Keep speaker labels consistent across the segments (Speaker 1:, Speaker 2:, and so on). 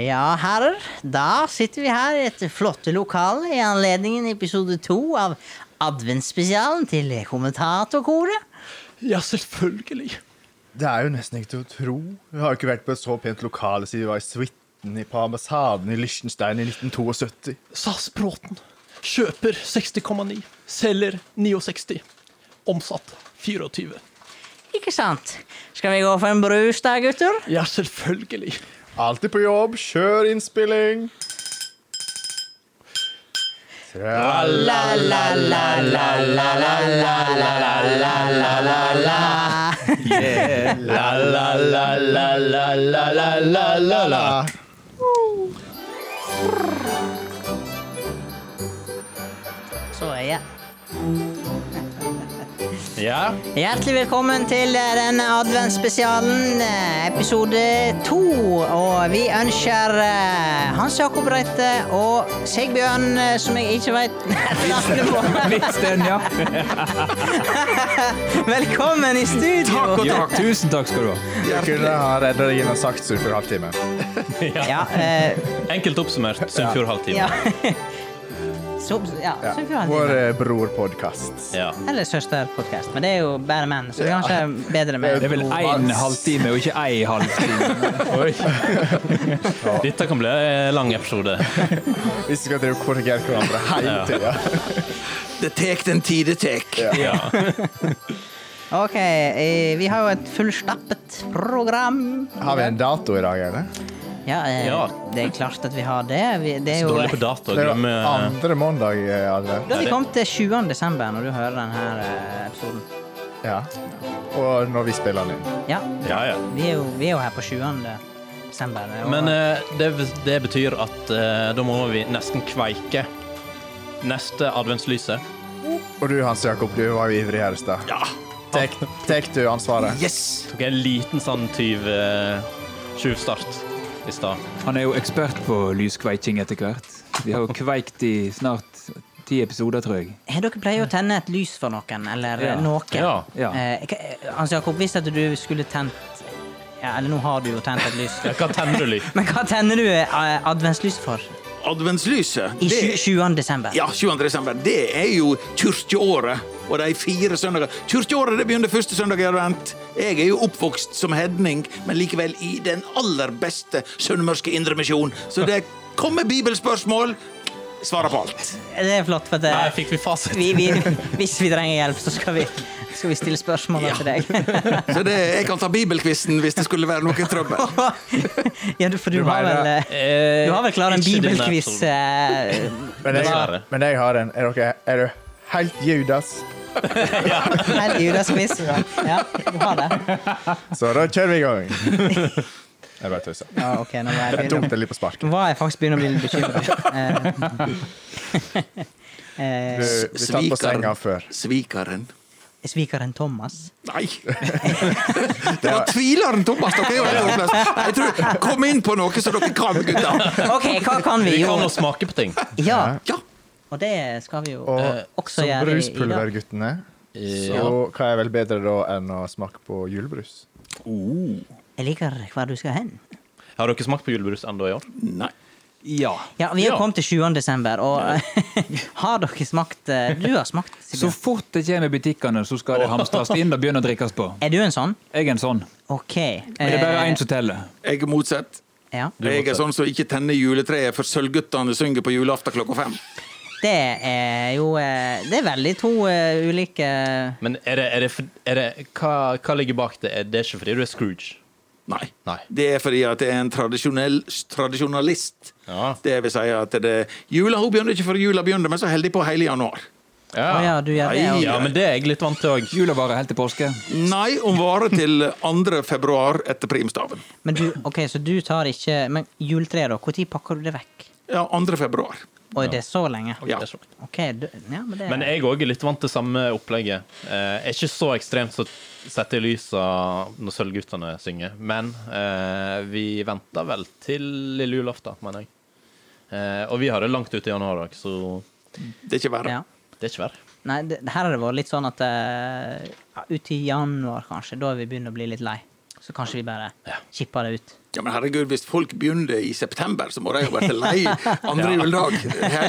Speaker 1: Ja, herrer. Da sitter vi her i et flotte lokale i anledningen episode to av adventsspesialen til kommentatorkoret.
Speaker 2: Ja, selvfølgelig.
Speaker 3: Det er jo nesten ikke til å tro. Vi har jo ikke vært på et så pent lokale siden vi var i suiten i- på ambassaden i Liechtenstein i 1972.
Speaker 2: SAS Bråten. Kjøper 60,9. Selger 69. Omsatt 24.
Speaker 1: Ikke sant? Skal vi gå for en brus da, gutter?
Speaker 2: Ja, selvfølgelig.
Speaker 3: Alltid på jobb, kjør innspilling! Trall.
Speaker 1: Så er jeg.
Speaker 2: Ja.
Speaker 1: Hjertelig velkommen til eh, denne adventsspesialen, eh, episode to. Og vi ønsker eh, Hans Jakob Reite og Sigbjørn, eh, som jeg ikke veit navnet på,
Speaker 4: Hvitsten, ja.
Speaker 1: velkommen i studio.
Speaker 4: ja. Tusen takk skal du ha.
Speaker 3: Jeg kunne ha redda deg gjennom saktsur for en halvtime.
Speaker 1: Ja, eh,
Speaker 5: Enkelt oppsummert Sunnfjordhalvtimen.
Speaker 1: ja.
Speaker 5: Ja.
Speaker 1: Som, ja,
Speaker 3: Ja.
Speaker 1: som vi har
Speaker 3: Vår
Speaker 1: alltid.
Speaker 3: eh, bror-podkast.
Speaker 5: Ja.
Speaker 1: Eller søsterpodkast, men det er jo bare menn, så det er kanskje bedre
Speaker 4: Det
Speaker 1: med
Speaker 4: er vel én halvtime og ikke ei halvtime.
Speaker 5: Dette kan bli en lang episode.
Speaker 3: Vi skal drive og korrigere hverandre hele tida.
Speaker 6: Det tek den tid det tek.
Speaker 5: Ja.
Speaker 1: Ok, eh, vi har jo et fullstappet program.
Speaker 3: Har vi en dato i dag, eller?
Speaker 1: Ja, eh,
Speaker 5: Ja.
Speaker 1: det er klart at vi har det. Vi, det er jo
Speaker 5: Dårlig på data.
Speaker 3: Det er jo
Speaker 5: Glemmer
Speaker 3: andre mandag. eh, Adrian.
Speaker 1: Da har vi kommet til 20. desember, når du hører denne episoden.
Speaker 3: Ja. Og når vi spiller den inn.
Speaker 1: Ja,
Speaker 5: Ja, ja.
Speaker 1: vi er jo, vi er jo her på 20. desember. og-
Speaker 5: Men eh, det, det betyr at eh, da må vi nesten kveike neste adventslyset.
Speaker 3: Og du, Hans Jakob, du var jo ivrig her i stad.
Speaker 5: Ja.
Speaker 3: Tek, tek du ansvaret?
Speaker 6: Yes!
Speaker 5: Tok en liten sånn tyv eh, tjuvstart i stad.
Speaker 4: Han er jo ekspert på lyskveiking etter hvert. Vi har jo kveikt i snart ti episoder, tror jeg.
Speaker 1: Har eh, dere pleier å tenne et lys for noen, eller
Speaker 4: Ja.
Speaker 1: noe?
Speaker 5: Ja.
Speaker 4: Ja.
Speaker 1: Eh, hva- Hans Jakob, hvis at du skulle tent ja, Eller nå har du jo tent et lys.
Speaker 5: Jeg kan tenne lyd.
Speaker 1: Men hva tenner du eh, adventslys for
Speaker 6: Adventslyset
Speaker 1: i
Speaker 6: det,
Speaker 1: tju- 20. desember?
Speaker 6: ja, 20. desember, det er jo kirkeåret. Og de fire søndager. Kirkeåret det begynner første søndag i advent. Jeg er jo oppvokst som hedning, men likevel i den aller beste sunnmørske indremisjon. Så det kommer bibelspørsmål. Svarer på alt.
Speaker 1: Eh, Det er flott, for det,
Speaker 5: Nei, fikk vi fasit?
Speaker 1: vi, vi, hvis vi trenger hjelp, så skal vi, skal vi stille spørsmål til deg.
Speaker 6: Så det, jeg kan ta bibelquizen hvis det skulle være noe trøbbel.
Speaker 1: ja, du, for du, har
Speaker 3: mener-
Speaker 1: vel eh,
Speaker 5: Eh,
Speaker 1: Du har vel klart en
Speaker 5: ikke denne
Speaker 1: bibelquiz
Speaker 5: episoden.
Speaker 1: eh,
Speaker 3: Men jeg,
Speaker 5: Dessverre.
Speaker 3: men jeg har en. Er, dere, er du helt Judas?
Speaker 1: Helt judaskviss. Ja, du har det?
Speaker 3: Så da kjører vi i gang. Jeg bare tøyser.
Speaker 1: Ja, ok, nå var jeg,
Speaker 3: Jeg tok
Speaker 1: begynner,
Speaker 3: det litt på sparket.
Speaker 1: nå var jeg faktisk begynner å bli litt eh, bekymra.
Speaker 3: Du blir tatt på senga før.
Speaker 6: Svikeren.
Speaker 1: Svikeren Thomas.
Speaker 6: Nei! Det var tvileren Thomas. Dere er jo helt håpløse. Jeg tror, Kom inn på noe som dere kan, gutter.
Speaker 1: OK, hva kan vi?
Speaker 5: Vi
Speaker 1: Jo,
Speaker 5: kan nå smake på ting.
Speaker 1: ja,
Speaker 6: Ja.
Speaker 1: og det skal vi jo
Speaker 3: Og
Speaker 5: Eh,
Speaker 1: også
Speaker 3: som
Speaker 1: gjøre i- i dag.
Speaker 3: bruspulverguttene, så hva er vel bedre da enn å smake på julebrus?
Speaker 1: Jeg liker hvor du skal hen.
Speaker 5: Har dere smakt på julebrus ennå i år?
Speaker 6: Nei.
Speaker 4: Ja.
Speaker 1: Ja, Vi er jo
Speaker 5: Ja.
Speaker 1: kommet til 20. desember, og har dere smakt eh, Du har smakt,
Speaker 4: Så
Speaker 1: Sigbjørn.
Speaker 4: fort det kommer i butikkene, så skal det hamstres inn og begynne å drikkes på.
Speaker 1: Er du en sånn?
Speaker 4: Jeg er en sånn.
Speaker 1: OK.
Speaker 4: Men det er bare
Speaker 1: eh,
Speaker 4: én som teller.
Speaker 6: Jeg er motsatt.
Speaker 1: Ja,
Speaker 6: Jeg er
Speaker 5: motsatt.
Speaker 6: sånn som ikke tenner juletreet for Sølvguttene synger på julaften klokka fem.
Speaker 1: det er jo eh, Det er veldig to eh, ulike
Speaker 5: Men er det, er det, for- er det, hva, hva ligger bak det? Er det ikke fordi du er Scrooge?
Speaker 6: Nei.
Speaker 5: Nei.
Speaker 6: Det er fordi at jeg er en tradisjonell tradisjonalist.
Speaker 5: Ja.
Speaker 6: Det vil si at det, jula hun begynner ikke før jula begynner, men så holder de på hele januar.
Speaker 1: Å ja, du gjør det?
Speaker 6: Nei,
Speaker 1: ja.
Speaker 5: Ja, men det er jeg litt vant til òg.
Speaker 4: Jula varer helt til påske.
Speaker 6: Nei, om varer til 2. februar etter primstaven.
Speaker 1: Men du, ok, så du tar ikke Men juletreet, da? Når pakker du det vekk?
Speaker 6: Ja, 2. februar.
Speaker 1: Og er det så lenge?
Speaker 6: Ja.
Speaker 1: Ok, du, ja, men det
Speaker 5: Men jeg òg er litt vant til samme opplegget. Eh, er ikke så ekstremt som å sette i lysa når Sølvguttene synger, men eh, vi venter vel til lille julaften, mener jeg. Eh, og vi har det langt ute i januar òg, så
Speaker 6: Det er ikke verre.
Speaker 1: ja.
Speaker 5: det er ikke verre.
Speaker 1: Nei, eh, det, her har det vært litt sånn at uh, Ut i januar, kanskje. Da er vi begynner å bli litt lei. så kanskje vi bare chipper det ut.
Speaker 6: Ja, men herregud, hvis folk begynner i september, så må de jo være lei andre juledag.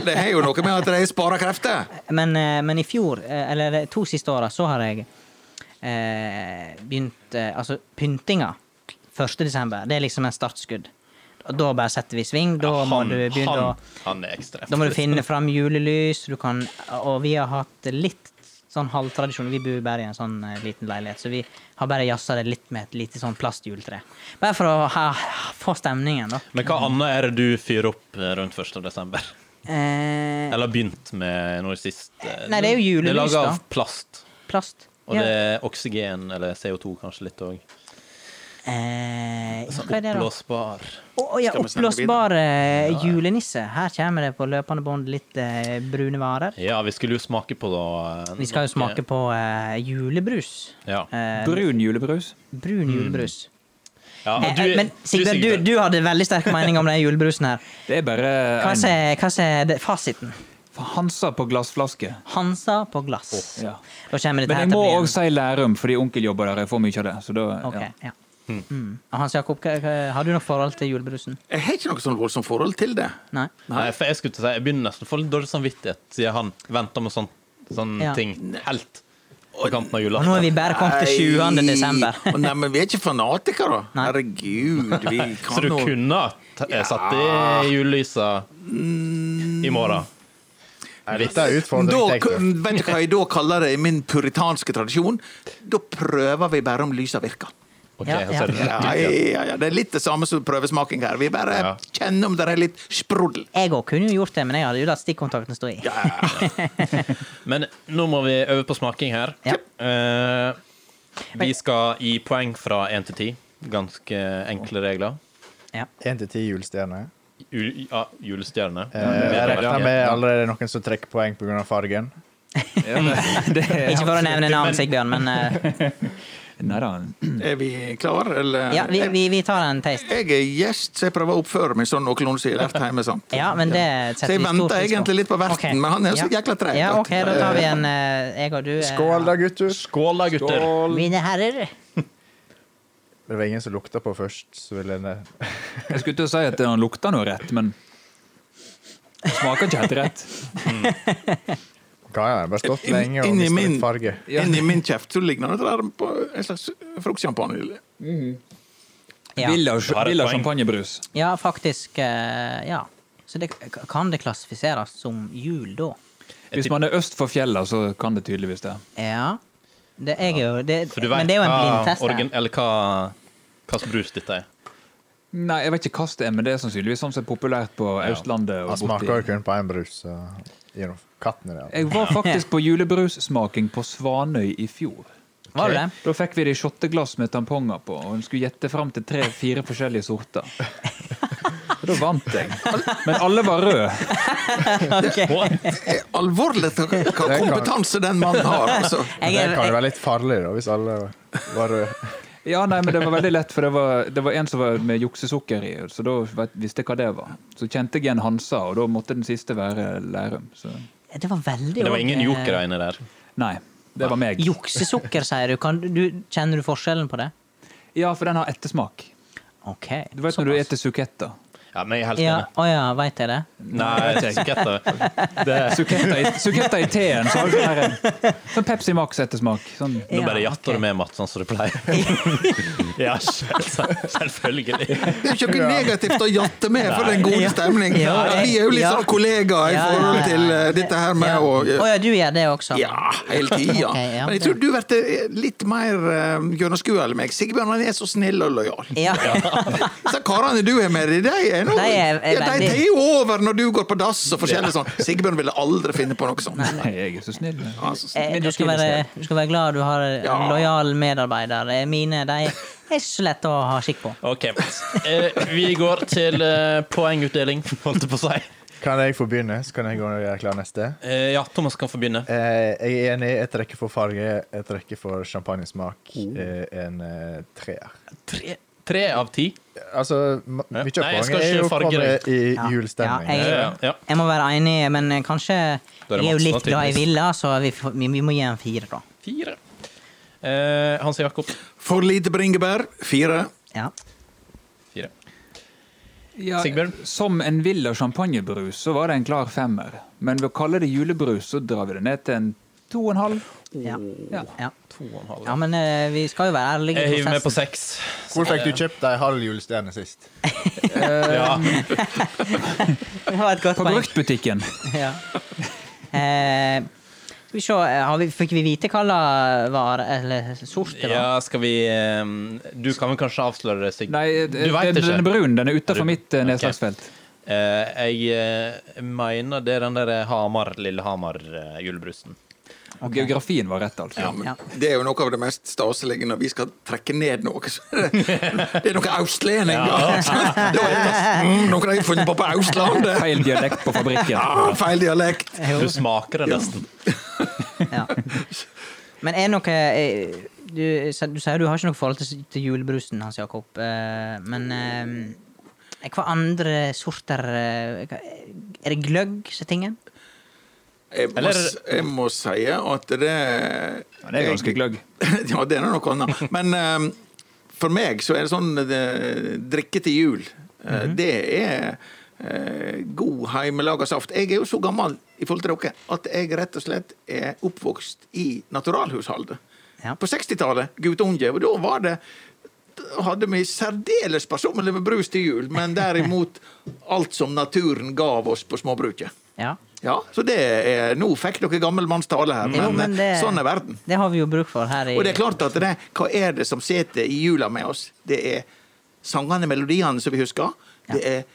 Speaker 6: Det er jo noe med at de sparer krefter.
Speaker 1: Men, eh, men i fjor, eh, eller de to siste åra, så har jeg eh, begynt eh, Altså, pyntinga 1. desember, det er liksom en startskudd. Og Da bare setter vi sving. Da må
Speaker 5: han,
Speaker 1: du begynne å
Speaker 5: han, han er ekstrem.
Speaker 1: Da må du finne fram julelys, du kan, og vi har hatt litt sånn halvtradisjon. Vi bor bare i en sånn eh, liten leilighet, så vi har bare jazza det litt med et lite sånn plastjuletre. Bare for å ha, få stemningen, da.
Speaker 5: Men hva annet er det du fyrer opp eh, rundt 1. desember?
Speaker 1: Eh,
Speaker 5: Eller begynt med noe sist? eh,
Speaker 1: Nei, det er jo
Speaker 5: Det er
Speaker 1: julelys,
Speaker 5: laget
Speaker 1: da.
Speaker 5: av plast.
Speaker 1: plast.
Speaker 5: Og det er oksygen, eller CO2 kanskje litt òg.
Speaker 1: eh,
Speaker 5: Altså,
Speaker 1: ja, hva er det, da?
Speaker 5: Oppblåsbar.
Speaker 1: Å, å, ja,
Speaker 6: Skal vi snakke
Speaker 1: oppblåsbar eh, julenisse. Her kommer det på løpende bånd litt eh, brune varer.
Speaker 5: Ja, vi skulle jo smake på da eh,
Speaker 1: Vi skal jo
Speaker 5: noe-
Speaker 1: smake på eh, julebrus.
Speaker 5: Ja.
Speaker 1: Eh,
Speaker 4: Brun julebrus.
Speaker 1: brun julebrus.
Speaker 5: ja
Speaker 1: Eh, eh, men Sigbjørn, Mm. du, du hadde veldig sterk mening om den julebrusen her.
Speaker 4: Det er bare
Speaker 1: Hva
Speaker 4: en
Speaker 1: er, hva er det, fasiten?
Speaker 4: Hansa på glassflaske.
Speaker 1: Hansa på glass.
Speaker 4: Ja.
Speaker 1: Da kommer dette
Speaker 4: Men
Speaker 1: her
Speaker 4: jeg
Speaker 1: til
Speaker 4: må
Speaker 1: å
Speaker 4: òg
Speaker 1: bli en...
Speaker 4: si Lærum, fordi onkel jobber der. Jeg får mye av det. Så da,
Speaker 1: Ok,
Speaker 4: ja.
Speaker 1: ja. Mm. Og Hans Jakob, hva- hva- har du noe forhold til julebrusen?
Speaker 6: Jeg har ikke noe sånn voldsomt forhold til det.
Speaker 1: Nei?
Speaker 5: Nei, for jeg skulle til å si Jeg begynner nesten å få litt dårlig samvittighet, siden han venter med sånn, sånn
Speaker 1: Ja.
Speaker 5: ting helt på kanten
Speaker 1: Og nå
Speaker 5: av
Speaker 1: er
Speaker 5: julaften.
Speaker 1: vi bare kommet til 7.
Speaker 6: Nei.
Speaker 1: desember.
Speaker 6: Å, Nei, men vi er ikke fanatikere.
Speaker 1: Nei.
Speaker 6: Herregud, vi
Speaker 5: Så
Speaker 6: kan
Speaker 5: du
Speaker 6: jo
Speaker 5: kunne ha t- eh, satt i julelysa i
Speaker 1: Mm.
Speaker 5: morgen?
Speaker 3: Nei, Dette er
Speaker 6: da,
Speaker 3: utfordring.
Speaker 6: k-
Speaker 3: tenkte jeg.
Speaker 6: Vet du hva jeg da kaller det i min puritanske tradisjon? Da prøver vi bare om lysa virker.
Speaker 5: Ok,
Speaker 1: Ja,
Speaker 5: så er det
Speaker 6: Ja,
Speaker 5: rett ut,
Speaker 6: ja, ja, det er litt det samme som prøvesmaking her. Vi bare
Speaker 5: Ja.
Speaker 6: kjenner om det er litt sprudel.
Speaker 1: Jeg òg kunne jo gjort det, men jeg hadde jo latt stikkontakten stå i.
Speaker 5: ja. Men nå må vi øve på smaking her.
Speaker 1: Ja.
Speaker 5: Eh, vi skal gi poeng fra 1 til 10. Ganske enkle regler.
Speaker 1: Ja.
Speaker 3: Én til ti julestjerner.
Speaker 5: Ju- ja, julestjerne.
Speaker 3: Eh, Jeg regner med allerede noen som trekker poeng pga. fargen.
Speaker 4: Ja, det, det er,
Speaker 1: Ikke for å nevne navn, Sigbjørn, men eh,
Speaker 4: Nei da.
Speaker 6: Er vi klare, eller?
Speaker 1: ja, vi, vi, vi tar en taste.
Speaker 6: Jeg er gjest, så jeg prøver å oppføre meg sånn noenlunde som jeg har lært hjemme. sant?
Speaker 1: Ja, men det
Speaker 6: Så
Speaker 1: setter
Speaker 6: jeg
Speaker 1: vi stor
Speaker 6: venter
Speaker 1: pris på.
Speaker 6: egentlig litt på verten,
Speaker 1: Ok.
Speaker 6: men han er så
Speaker 1: Ja.
Speaker 6: jækla treg
Speaker 1: Ja,
Speaker 6: at-
Speaker 1: OK, da tar vi en eh, Jeg og du. eh,
Speaker 3: Skål da, gutter.
Speaker 5: Skål da, gutter.
Speaker 1: Mine herrer.
Speaker 3: Det var ingen som lukta på først, så vil jeg
Speaker 4: Jeg skulle til å si at den lukter noe rett, men den smaker ikke helt rett.
Speaker 3: Hva er det? Bare stått lenge og
Speaker 6: Inni
Speaker 3: mistet
Speaker 6: min,
Speaker 3: litt farge.
Speaker 6: inni min kjeft så ligner det der på en slags fruktsjampanje.
Speaker 1: Ja.
Speaker 5: har
Speaker 4: Villa,
Speaker 5: et
Speaker 4: Villa
Speaker 5: poeng.
Speaker 4: champagnebrus.
Speaker 1: ja, faktisk. eh, Ja. Så det, kan det klassifiseres som jul, da?
Speaker 4: Hvis man er øst for fjellet, så kan det tydeligvis det.
Speaker 1: Ja. Det er jo det,
Speaker 5: For du vet
Speaker 1: Men det er jo en
Speaker 5: hva
Speaker 1: blindtest.
Speaker 5: origin-
Speaker 1: her.
Speaker 5: Eller hva slags brus dette er.
Speaker 4: Nei, jeg vet ikke hva det er, men det er sannsynligvis sånn som er populært på Østlandet.
Speaker 3: Han
Speaker 4: og
Speaker 3: smaker jo
Speaker 4: borti.
Speaker 3: kun på én brus. Så gir noe katten i det. altså.
Speaker 4: Jeg var faktisk på julebrussmaking på Svanøy i fjor.
Speaker 1: Var det det?
Speaker 4: Da fikk vi det i shotteglass med tamponger på, og en skulle gjette fram til tre-fire forskjellige sorter. Og Da vant jeg. Men alle var røde.
Speaker 6: Alvorlig hva hva kompetanse den mannen har. Altså.
Speaker 1: Jeg
Speaker 3: Det
Speaker 1: er,
Speaker 3: kan jo
Speaker 1: jeg,
Speaker 3: være litt farlig, da, hvis alle var røde.
Speaker 4: Ja, nei, men det var veldig lett, for det var, det var en som var med juksesukker i, så da vet, visste jeg hva det var. Så kjente jeg igjen Hansa, og da måtte den siste være Lærum. Så
Speaker 1: det var veldig
Speaker 5: Det var ingen
Speaker 1: eh,
Speaker 5: jokere inni der.
Speaker 4: nei, det var meg.
Speaker 1: Juksesukker, sier du. Kan, du. Kjenner du forskjellen på det?
Speaker 4: Ja, for den har ettersmak.
Speaker 1: OK.
Speaker 4: Du vet når du spiser suketter.
Speaker 5: Ja, men jeg er helt
Speaker 1: Ja,
Speaker 5: enig.
Speaker 1: å ja, veit jeg det?
Speaker 5: Nei, suketter.
Speaker 4: Suketter i, suketter i teen, så har du sånn her- sånn Pepsi Max-ettersmak. Sånn.
Speaker 5: Nå
Speaker 1: Ja,
Speaker 5: bare jatter
Speaker 1: ok.
Speaker 5: du med, Mats, sånn som du pleier. ja, selv, selvfølgelig.
Speaker 6: Det er jo ikke noe negativt å jatte med for den gode stemning.
Speaker 1: Ja, jeg-
Speaker 6: Vi er jo litt
Speaker 1: ja.
Speaker 6: sånn
Speaker 1: Ja,
Speaker 6: kollegaer i
Speaker 1: ja, ja.
Speaker 6: forhold til eh, dette her med
Speaker 1: Ja.
Speaker 6: å
Speaker 1: Å ja, du gjør det også?
Speaker 6: Ja, hele tida.
Speaker 1: Ok, ja.
Speaker 6: Men jeg tror du blir litt mer eh, gjennomskuelig enn meg. Sigbjørn han er så snill og lojal.
Speaker 1: Ja.
Speaker 6: Så karene du er med i, de er nå
Speaker 1: De er- er
Speaker 6: ja, de
Speaker 1: veldig-
Speaker 6: tar jo over når du går på dass og forskjellig sånn. Sigbjørn ville aldri finne på noe sånt.
Speaker 4: Nei, jeg er så snill.
Speaker 6: Altså,
Speaker 1: Eh,
Speaker 4: Men
Speaker 1: Du
Speaker 4: du
Speaker 1: skal,
Speaker 4: trives
Speaker 1: være,
Speaker 4: her.
Speaker 1: du skal være glad du har en
Speaker 6: Ja.
Speaker 1: lojal medarbeider. Eh, Mine de er ikke så lette å ha skikk på.
Speaker 5: OK, Mats. Eh, vi går til eh, poengutdeling, holdt jeg på å si.
Speaker 3: Kan jeg få begynne, så kan jeg gå og gjøre klar neste?
Speaker 5: Eh, ja, Thomas kan få begynne.
Speaker 3: Eh, jeg er enig. Jeg trekker for farge. Jeg trekker for champagnesmak.
Speaker 1: Oh.
Speaker 3: Eh, en eh, treer.
Speaker 5: Tre, tre av ti.
Speaker 3: Altså, ma-
Speaker 5: Ja.
Speaker 3: mye av
Speaker 5: Nei, jeg skal
Speaker 3: poenget er
Speaker 5: ikke
Speaker 3: jo
Speaker 5: farge
Speaker 3: kommet
Speaker 5: deg.
Speaker 3: i
Speaker 1: Ja.
Speaker 3: julestemning.
Speaker 1: Ja,
Speaker 5: Ja,
Speaker 1: jeg-
Speaker 5: ja, ja.
Speaker 1: Jeg må være enig, men eh, kanskje
Speaker 5: Da er det
Speaker 1: Jeg er jo
Speaker 5: Mats, da,
Speaker 1: litt glad i
Speaker 5: tydeligvis.
Speaker 1: Villa, så vi, får- vi, vi må gi en fire, da.
Speaker 5: Fire. Eh, Hans Jakob.
Speaker 6: For lite bringebær. Fire.
Speaker 1: Ja.
Speaker 5: Fire.
Speaker 4: Ja,
Speaker 5: Sigbjørn?
Speaker 4: Som en villa champagnebrus så var det en klar femmer. Men ved å kalle det julebrus så drar vi det ned til en to og en halv.
Speaker 1: Ja.
Speaker 4: Ja.
Speaker 1: ja.
Speaker 5: To og en halv.
Speaker 1: ja men eh, vi skal jo være ærlige
Speaker 5: Jeg
Speaker 1: i
Speaker 5: hiver meg på
Speaker 1: prosessen.
Speaker 5: seks.
Speaker 3: Hvor fikk du kjøpt deg halv julestjerne sist?
Speaker 5: Ja.
Speaker 1: Det var et godt
Speaker 4: På
Speaker 1: poeng.
Speaker 4: bruktbutikken.
Speaker 1: ja. eh, skal vi se, eh, har vi, fikk vi vite hva la var, eller sort det var?
Speaker 5: ja, skal vi eh, Du kan vel kanskje avsløre det, Sig?
Speaker 4: Nei, eh,
Speaker 5: du vet
Speaker 4: den, den er
Speaker 5: ikke.
Speaker 4: brun. Den er
Speaker 5: Brun.
Speaker 4: utafor mitt eh,
Speaker 5: Ok.
Speaker 4: nedslagsfelt.
Speaker 5: Eh, jeg eh, mener det er den der Hamar, eh, Lillehamar-julebrusen.
Speaker 4: Og Geografien var rett, altså.
Speaker 6: Ja, men
Speaker 1: Ja.
Speaker 6: Det er jo noe av det mest staselige når vi skal trekke ned noe. Så er det, det er noe austlending, da. da er det, mm, noen har funnet på på Austlandet.
Speaker 4: Feil dialekt på fabrikken.
Speaker 6: Ah, feil dialekt.
Speaker 5: Du smaker det nesten.
Speaker 1: Ja. Men er noe eh, du, sa- du sier du har ikke noe forhold til, til julebrusen, Hans Jakob. eh, Men eh, hva andre sorter eh, hva- Er det gløgg som er tingen?
Speaker 6: Jeg må,
Speaker 5: Eller-
Speaker 6: s- jeg må si at det
Speaker 4: Ja, det er ganske gløgg.
Speaker 6: Ja, det er noe annet. Men eh, for meg så er det sånn eh, drikke til jul. Eh,
Speaker 4: Mhm.
Speaker 6: Det er eh, god hjemmelaga saft. Jeg er jo så gammel i forhold til dere at jeg rett og slett er oppvokst i naturalhusholdet.
Speaker 1: Ja.
Speaker 6: På 60-tallet, guttunge, og da var det da hadde vi særdeles personlig med brus til jul, men derimot alt som naturen gav oss på småbruket.
Speaker 1: Ja.
Speaker 6: Ja, så det er, Nå fikk dere gammelmannstale her,
Speaker 1: Jo,
Speaker 6: men,
Speaker 1: men
Speaker 6: eh,
Speaker 1: det-
Speaker 6: sånn er verden.
Speaker 1: Det har vi jo bruk for her i
Speaker 6: Og det er klart at det, hva er det som sitter i jula med oss? Det er sangene, melodiene som vi husker. Det er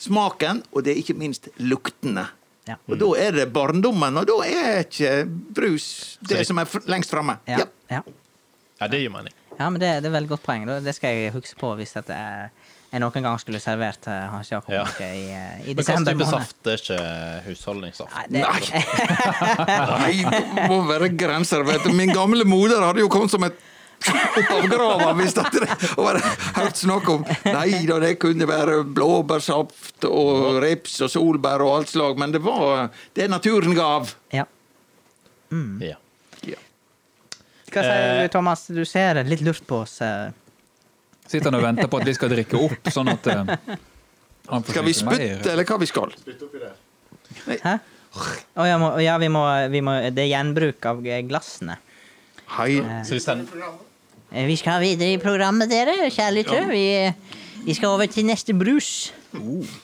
Speaker 6: smaken, og det er ikke minst luktene.
Speaker 1: Ja.
Speaker 6: Og da er det barndommen, og da er ikke brus det
Speaker 5: Så-
Speaker 6: som er f lengst framme.
Speaker 1: Ja, ja.
Speaker 5: Ja, det gir mening.
Speaker 1: ja men det, det er et veldig godt poeng. da. Det skal jeg huske på hvis dette er jeg noen gang skulle servert eh, Hans Jakob
Speaker 5: Ja.
Speaker 1: noe i, eh, i
Speaker 5: Men hva
Speaker 1: desember
Speaker 5: type
Speaker 1: måned.
Speaker 5: saft er ikke husholdningssaft?
Speaker 1: Nei, det,
Speaker 6: Nei. Nei, det må være grenser, vet du. Min gamle moder hadde jo kommet som et opp av grava hvis det hadde og bare hørt snakk om Nei da, det kunne være blåbærsaft og rips og solbær og alt slag, men det var det naturen gav.
Speaker 1: ja.
Speaker 5: Ja.
Speaker 1: Hva sier du, Thomas? Du ser litt lurt på oss. eh.
Speaker 4: Sitter han og venter på at vi skal drikke opp, sånn at eh, han får
Speaker 6: Skal vi
Speaker 4: drikke mer.
Speaker 6: spytte, eller hva vi skal?
Speaker 1: Hæ? Å ja, må, ja vi, må, vi må Det er gjenbruk av glassene.
Speaker 6: Hei.
Speaker 1: Mm.
Speaker 5: Så vi sender
Speaker 1: Eh, Vi skal videre i programmet, dere, kjære lyttere. Vi, vi skal over til neste brus. Eh.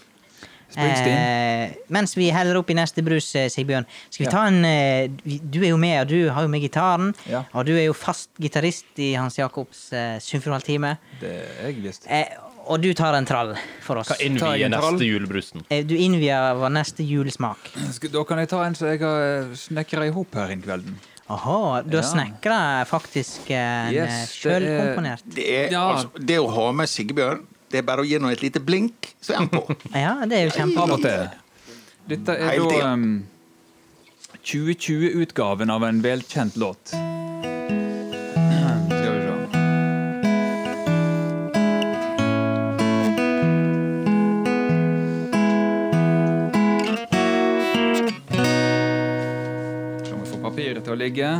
Speaker 4: Springsteen.
Speaker 1: mens vi heller opp i neste brus, eh, Sigbjørn, skal vi ta en eh, vi- Du er jo med, og du har jo med gitaren.
Speaker 4: Ja.
Speaker 1: Og du er jo fast gitarist i Hans Jakobs eh, symfonialtime.
Speaker 4: Det er jeg visst.
Speaker 1: Eh, og du tar en trall for oss.
Speaker 5: Hva innvier neste julebrusen?
Speaker 1: Eh, Du innvier vår neste julesmak.
Speaker 4: Sk- Da kan jeg ta en som jeg har snekra i hop her inn kvelden.
Speaker 1: Aha, du har
Speaker 4: Ja.
Speaker 1: snekra faktisk en yes,
Speaker 4: Yes, det er-
Speaker 1: sjølkomponert.
Speaker 6: Det, er,
Speaker 4: Ja.
Speaker 6: altså, det å ha med Sigbjørn, det er bare å gi henne et lite blink, så er han på.
Speaker 1: Ja, det er jo
Speaker 4: Av og
Speaker 1: kjempeflott.
Speaker 4: til. Dette er
Speaker 6: Hele
Speaker 4: da
Speaker 6: tiden.
Speaker 4: um, 2020-utgaven av en velkjent låt. Skal vi se. Så må vi få papiret til å ligge.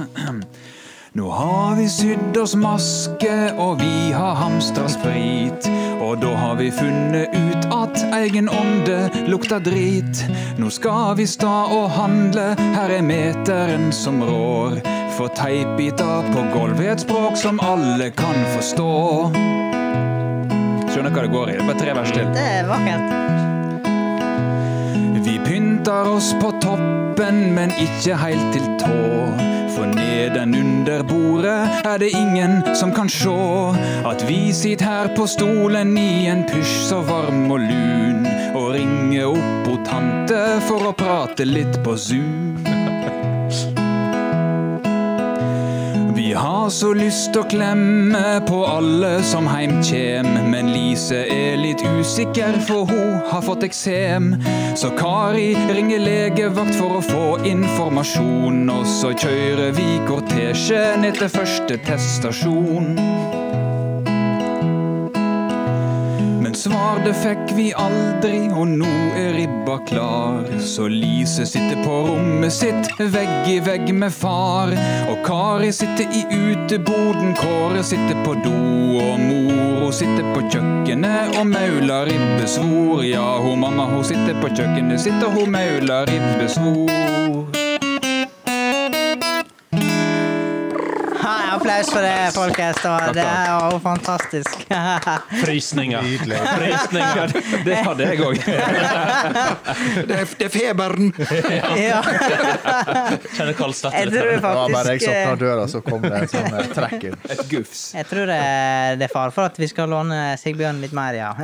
Speaker 4: Nå har vi sydd oss maske, og vi har hamstra sprit. Og da har vi funnet ut at egen ånde lukter drit. Nå skal vi sta og handle, her er meteren som rår. For teipbiter på gulvet er et språk som alle kan forstå. Skjønner hva det går i. Det er bare tre vers til.
Speaker 1: Det er vakkert.
Speaker 4: Vi pynter oss på toppen, men ikke helt til tå. For nedenunder bordet er det ingen som kan sjå at vi sitter her på stolen i en pysj så varm og lun, og ringer opp o tante for å prate litt på Zoom. Vi har så lyst å klemme på alle som heim kjem, men Lise er litt usikker, for hun har fått eksem. Så Kari ringer legevakt for å få informasjon, og så kjører vi kortesje ned til første teststasjon. Men Et svar det fikk vi aldri, og nå er ribba klar. Så Lise sitter på rommet sitt, vegg i vegg med far. Og Kari sitter i uteboden, Kåre sitter på do, og mor hun sitter på kjøkkenet og mauler ribbesvor. Ja, hun mamma hun sitter på kjøkkenet sitt, og hun mauler ribbesvor.
Speaker 1: Ha, applaus for det, folkens. Det var- Det er jo fantastisk.
Speaker 2: Frysninger.
Speaker 3: Nydelig.
Speaker 2: Frysninger.
Speaker 4: Det hadde jeg òg.
Speaker 6: Det er, det er feberen.
Speaker 1: ja,
Speaker 2: Kjenner kald svette
Speaker 1: jeg
Speaker 2: litt.
Speaker 1: tror
Speaker 2: her.
Speaker 1: det
Speaker 3: Det var bare jeg
Speaker 1: faktisk
Speaker 3: som åpna
Speaker 1: eh,
Speaker 3: døra, så kom det en sånn eh, trekker.
Speaker 4: Et gufs.
Speaker 1: Jeg tror det, det er fare for at vi skal låne Sigbjørn litt mer, ja.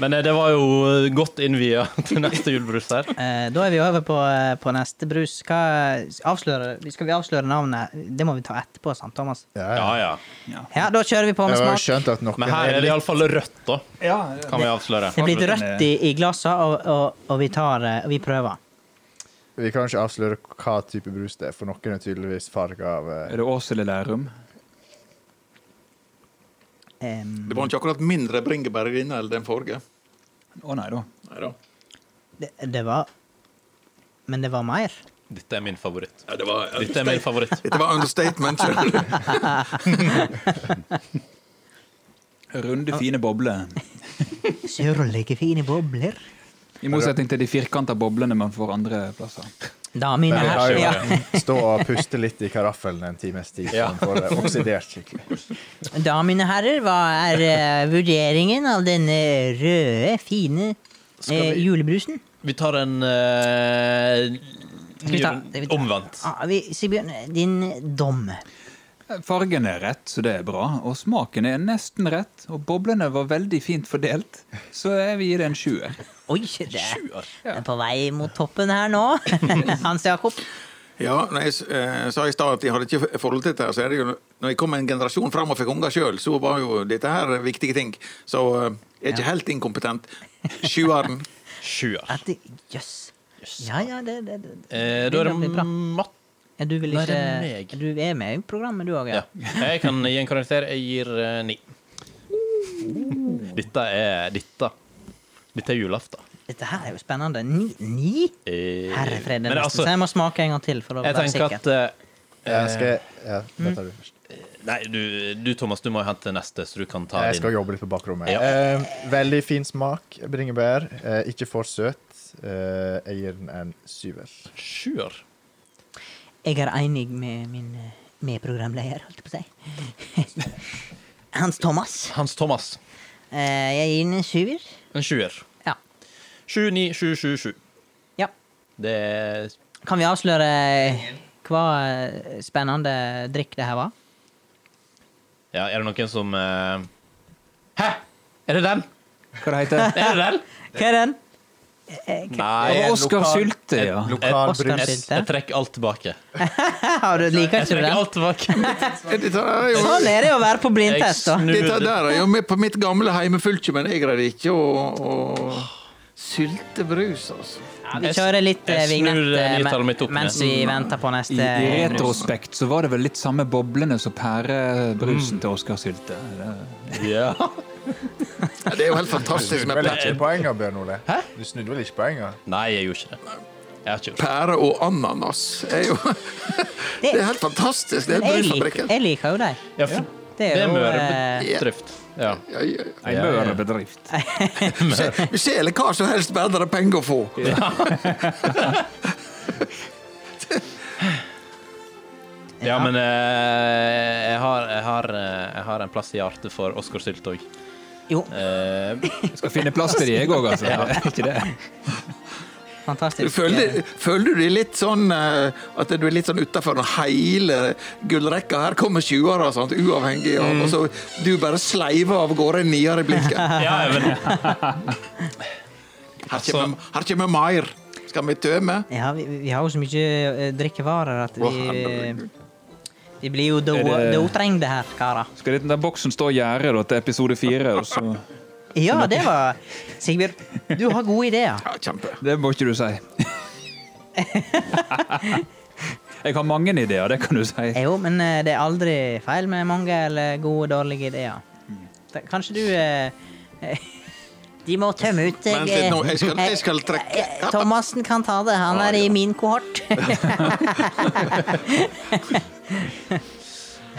Speaker 5: Men eh, det var jo eh, godt innvia til neste julebrus her.
Speaker 1: Eh, Da er vi over på, eh, på neste brus. Hva, avsløre, skal vi avsløre navnet? Det må vi ta etterpå, sant, Thomas?
Speaker 5: Ja,
Speaker 3: Ja, ja.
Speaker 5: ja.
Speaker 1: Ja, da kjører vi på med
Speaker 3: Jeg har jo
Speaker 1: smak.
Speaker 3: skjønt at noen
Speaker 5: Men her er det iallfall rødt, da.
Speaker 4: Ja,
Speaker 5: Kan vi avsløre.
Speaker 1: Det blir rødt i, i glassene, og, og, og vi tar eh, Vi prøver.
Speaker 3: Vi kan ikke avsløre hva type brus det er, for noen er tydeligvis farga av eh,
Speaker 4: Er det Åshild Lærum?
Speaker 1: Em,
Speaker 6: Det var ikke akkurat mindre bringebær i denne enn den forrige.
Speaker 4: Å nei da.
Speaker 6: Neida.
Speaker 1: det, det var Men det var mer.
Speaker 5: Dette er min favoritt.
Speaker 6: Ja, det var,
Speaker 5: Dette er min favoritt.
Speaker 6: Dette var understatement. skjønner du.
Speaker 4: Runde, fine bobler.
Speaker 1: Sørlige, fine bobler.
Speaker 4: I motsetning til de firkanta boblene man får andre plasser.
Speaker 1: Damene
Speaker 3: Men vi
Speaker 1: her. Ja.
Speaker 3: kan jo stå og puste litt i karaffelen en times tid, så den får det oksidert skikkelig.
Speaker 1: Da, mine herrer, hva er eh, vurderingen av denne røde, fine eh, julebrusen?
Speaker 5: Vi tar en eh,
Speaker 1: vi ta-
Speaker 5: ny-
Speaker 1: skal vi ta-
Speaker 5: omvendt.
Speaker 1: Ah, vi, Sigbjørn, din dom.
Speaker 4: Fargen er rett, så det er bra. Og smaken er nesten rett. Og boblene var veldig fint fordelt, så jeg vil gi det en sjuer.
Speaker 1: Oi, det er det er på vei mot toppen her nå. Hans Jakob.
Speaker 6: Ja, når jeg s- eh, sa i stad at jeg hadde ikke forhold til dette, her, så er det jo Når jeg kom en generasjon fram og fikk unger sjøl, så var jo dette her viktige ting. Så eh, jeg er ikke helt inkompetent. Sjueren.
Speaker 5: Sjuer.
Speaker 1: At det- Jøss. Ja, ja, det, det, det.
Speaker 5: Eh,
Speaker 1: det
Speaker 5: da er
Speaker 1: blir
Speaker 5: det
Speaker 1: bra.
Speaker 5: matt...
Speaker 1: Ja, du vil
Speaker 5: Nei,
Speaker 1: ikke
Speaker 5: det
Speaker 1: Du
Speaker 5: er meg.
Speaker 1: er med i programmet, du òg?
Speaker 5: Ja.
Speaker 1: Ja.
Speaker 5: Jeg kan gi en karakter. Jeg gir eh, ni. Dette er Dette. Dette er julaften.
Speaker 1: Dette her er jo spennende. Ni? ni?
Speaker 5: Eh,
Speaker 1: Herre fred, det
Speaker 5: men
Speaker 1: er nesten
Speaker 5: altså,
Speaker 1: så jeg må smake en gang til. for å
Speaker 5: jeg
Speaker 1: være
Speaker 5: tenker
Speaker 1: sikker.
Speaker 5: at eh, mm.
Speaker 3: Jeg skal ja, Da tar du først.
Speaker 5: Nei, du, du Thomas, du må jo hente neste, så du kan ta
Speaker 3: Jeg skal
Speaker 5: din.
Speaker 3: jobbe litt på bakrommet.
Speaker 5: Ja.
Speaker 3: Eh, veldig fin smak bringebær. Eh, ikke for søt. Eh, jeg gir den en syver.
Speaker 5: Sjuer.
Speaker 1: Jeg er enig med min eh, medprogramleder, holdt jeg på å si. Hans Thomas.
Speaker 5: Hans Thomas.
Speaker 1: Eh, jeg gir den en syver.
Speaker 5: En sjuer.
Speaker 1: Ja.
Speaker 5: Sju, ni, sju, sju, sju.
Speaker 1: ja.
Speaker 5: Det er
Speaker 1: Kan vi avsløre hva eh, spennende drikk det her var?
Speaker 5: Ja, er det noen som eh, Hæ? Er det den?
Speaker 4: Hva det heter
Speaker 5: Er det den?
Speaker 1: Hva er den?
Speaker 5: Nei.
Speaker 4: det? Oskar
Speaker 3: lokal-
Speaker 4: Sylte, ja.
Speaker 3: Lokal
Speaker 1: Oscar
Speaker 3: brus.
Speaker 5: Jeg,
Speaker 1: Sylte.
Speaker 5: jeg trekker alt tilbake.
Speaker 1: Har du liker
Speaker 5: Jeg
Speaker 1: ikke du
Speaker 5: trekker
Speaker 1: den?
Speaker 5: alt tilbake.
Speaker 6: Dette her er jo
Speaker 1: Sånn er det å være på
Speaker 5: Jeg
Speaker 1: blindtest, da.
Speaker 5: snur
Speaker 6: dette der er jo med på mitt gamle heimefylke, men jeg greide ikke å, å sylte brus, altså.
Speaker 1: Vi kjører litt eh,
Speaker 5: Jeg snur,
Speaker 1: vignett
Speaker 5: eh,
Speaker 1: eh, men-
Speaker 5: nytallet mitt opp
Speaker 1: mens
Speaker 5: ned.
Speaker 1: vi venter på
Speaker 4: I,
Speaker 1: neste.
Speaker 4: I retrospekt så var det vel litt samme boblene som pærebrusen til Oskar Sylte. Det-
Speaker 5: Ja.
Speaker 6: Ja, Det er jo helt fantastisk med
Speaker 3: Vel
Speaker 6: pæ-
Speaker 3: ikke poenget, Bjørn Ole. Du snudde vel ikke poenget?
Speaker 5: Nei, jeg gjorde ikke det. Jeg har ikke gjort det.
Speaker 6: pære og ananas. Det er jo Det er helt fantastisk. Det er
Speaker 1: jeg, liker,
Speaker 6: brusfabrikken.
Speaker 1: jeg liker jo deg.
Speaker 5: Ja, for
Speaker 1: Det
Speaker 5: det
Speaker 1: er
Speaker 5: er
Speaker 1: jo eh,
Speaker 5: Mørebedrift. Ja.
Speaker 6: Ja, ja, ja.
Speaker 4: En mørbedrift.
Speaker 6: Se- Vi selger hva som helst bare det er penger å få.
Speaker 5: ja, men eh, jeg, har, jeg, har, eh, jeg har en plass i hjertet for Oskar Sylt Eh, òg.
Speaker 1: Jo,
Speaker 4: Skal finne plass til de, jeg òg, altså. Det er Ikke det.
Speaker 6: Du
Speaker 1: fantastisk.
Speaker 6: føler, føler du deg litt sånn eh, at du er litt sånn utafor når hele gullrekka her kommer 20-åra, sant, uavhengig av
Speaker 1: Mm.
Speaker 6: og så Du bare sleiver av gårde en nier i blinken.
Speaker 5: Ja, men
Speaker 6: Her kommer, her kommer Maier. Skal vi tømme?
Speaker 1: Ja, vi, vi har jo så mye eh, drikkevarer at vi Vi blir jo det
Speaker 4: Er det-
Speaker 1: utrengte her, karer.
Speaker 4: Skal den der boksen stå og gjerde da, til episode fire? og så-
Speaker 1: Ja, det var Sigbjørn, du har gode ideer.
Speaker 6: Ja, kjempe.
Speaker 4: Det må ikke du si. Jeg har mange ideer, det kan du si.
Speaker 1: Jo, men eh, det er aldri feil med mange eller gode og dårlige ideer. Da- Kanskje du eh, De må tømme ut eh,
Speaker 6: Vent litt nå, jeg skal, jeg skal trekke
Speaker 1: eh, Thomassen kan ta det. Han er i min kohort.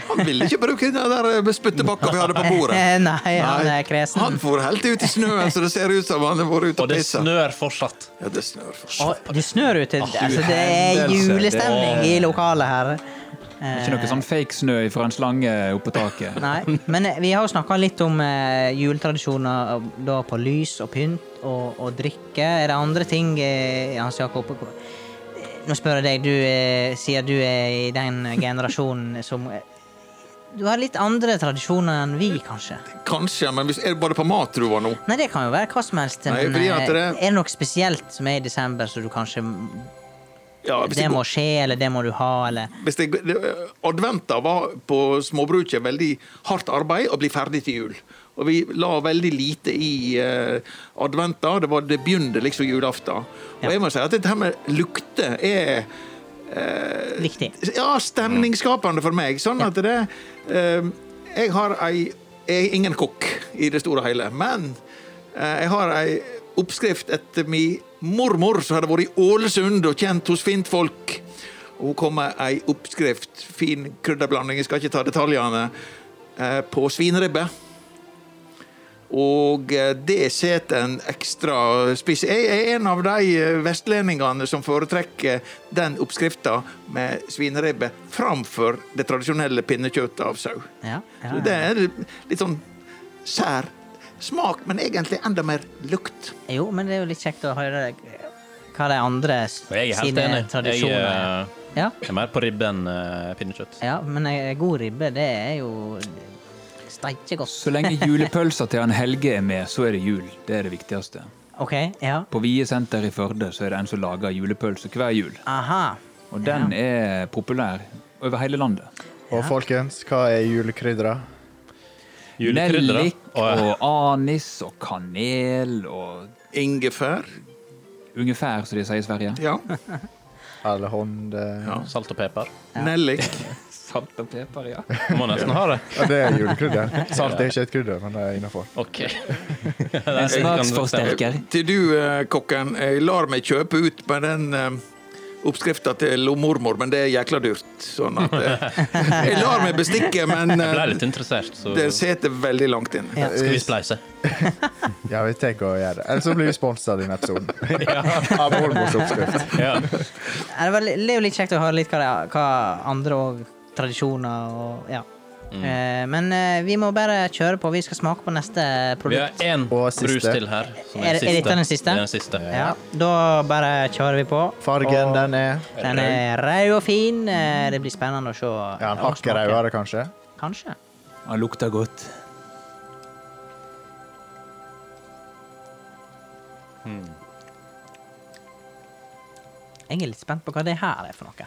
Speaker 6: Han ville ikke bruke den der eh, spyttebakka vi hadde på bordet.
Speaker 1: Nei, han
Speaker 6: Nei,
Speaker 1: er kresen.
Speaker 6: Han for helt ut i snøen, så det ser ut som han har vært ute
Speaker 5: Og
Speaker 6: og
Speaker 5: det
Speaker 6: pissa.
Speaker 5: snør fortsatt.
Speaker 6: Ja, det snør for
Speaker 1: Å,
Speaker 6: satan.
Speaker 1: det snør ute.
Speaker 6: Ah,
Speaker 1: Altså, det er
Speaker 3: hendelse,
Speaker 1: julestemning i lokalet her.
Speaker 4: Ikke noe sånn fake snø fra en slange oppå taket.
Speaker 1: Nei, men eh, vi har jo snakka litt om eh, juletradisjoner eh, da på lys og pynt og, og drikke. Er det andre ting, eh, Hans Jakob? Eh, Nå spør jeg deg, du eh, sier du er i den generasjonen som eh, Du har litt andre tradisjoner enn vi, kanskje?
Speaker 6: Kanskje, men hvis, er det bare på mat du var nå?
Speaker 1: Nei, det kan jo være hva som helst.
Speaker 6: Nei,
Speaker 1: Men
Speaker 6: fordi
Speaker 1: eh,
Speaker 6: at det-
Speaker 1: er det noe spesielt som er i desember, så du kanskje
Speaker 6: Ja, hvis
Speaker 1: Det
Speaker 6: jeg-
Speaker 1: må skje, eller det må du ha, eller
Speaker 6: hvis jeg, det- adventa var på småbruket veldig hardt arbeid å bli ferdig til jul. Og vi la veldig lite i eh, adventa. Det var det begynte liksom julaften. Og jeg må si at dette her med lukter er
Speaker 1: Viktig.
Speaker 6: ja, stemningsskapende for meg. Sånn at det eh, Jeg har ei Jeg er ingen kokk i det store og hele, men eh, jeg har ei oppskrift etter mi mormor som hadde vært i Ålesund og kjent hos fintfolk. Og Hun kom med ei oppskrift, fin krydderblanding, jeg skal ikke ta detaljene, eh, på svineribbe. Og eh, det setter en ekstra spiss. Jeg er en av de eh, vestlendingene som foretrekker den oppskrifta med svineribbe framfor det tradisjonelle pinnekjøttet av sau.
Speaker 1: Ja, ja,
Speaker 6: Så det er litt sånn sær smak, men egentlig enda mer lukt.
Speaker 1: Jo, men det er jo litt kjekt å høre hva de andre s-
Speaker 5: Og jeg eh, er helt
Speaker 1: sine
Speaker 5: enig. Jeg
Speaker 1: tradisjoner er.
Speaker 5: eh,
Speaker 1: Ja,
Speaker 5: er mer på ribbe enn eh, pinnekjøtt.
Speaker 1: ja, men ei god ribbe, det er jo steike godt.
Speaker 4: Så lenge julepølsa til han Helge er med, så er det jul. Det er det viktigste.
Speaker 1: OK, ja.
Speaker 4: På Vie senter i Førde så er det en som lager julepølse hver jul.
Speaker 1: Aha.
Speaker 4: Og den er populær over hele landet.
Speaker 3: Og folkens, hva er julekrydder?
Speaker 5: Julekrydder,
Speaker 4: Nellik
Speaker 5: da. Og, eh,
Speaker 4: og anis og kanel og
Speaker 6: Ingefær.
Speaker 4: ungefær, som de sier i Sverige.
Speaker 6: Ja.
Speaker 3: Alle hånd... eh,
Speaker 6: ja.
Speaker 5: salt og pepper.
Speaker 6: Nellik.
Speaker 4: Salt og pepper, ja.
Speaker 5: Må nesten ha det.
Speaker 3: Ja, det er julekrydder. Salt er ikke et krydder, men det er innafor.
Speaker 5: OK.
Speaker 4: En smaksforsterker.
Speaker 6: Til du, eh, kokken. Jeg lar meg kjøpe ut med den eh, oppskrifta til lo mormor, men det er jækla dyrt. Sånn at eh, Jeg lar meg bestikke, men
Speaker 5: Jeg ble
Speaker 6: eh,
Speaker 5: litt interessert, så
Speaker 6: det sitter veldig langt inne.
Speaker 1: Ja.
Speaker 5: skal vi spleise.
Speaker 3: Ja, vi tenker å gjøre det. Eller så blir vi sponsa denne episoden. Av Holmors oppskrift.
Speaker 5: Ja.
Speaker 1: Ja, Det var li- det er jo litt kjekt å høre litt hva, det, hva andre og tradisjoner og Ja. Eh, men eh, vi må bare kjøre på. Vi skal smake på neste
Speaker 5: Vi
Speaker 1: produkt.
Speaker 5: har én
Speaker 3: Og siste.
Speaker 5: brus til her. Som
Speaker 1: Er-
Speaker 5: er,
Speaker 1: er
Speaker 5: siste.
Speaker 1: dette den siste?
Speaker 5: Det er den siste.
Speaker 1: Ja, da bare kjører vi på.
Speaker 3: Fargen,
Speaker 1: og
Speaker 3: den er
Speaker 1: den er rød og fin. Eh, Det blir spennende å se.
Speaker 3: Ja, en
Speaker 1: og
Speaker 3: hakk
Speaker 1: smake.
Speaker 3: rødere, kanskje.
Speaker 1: Kanskje.
Speaker 4: Han lukter godt.
Speaker 1: Jeg er litt spent på hva det her er for noe.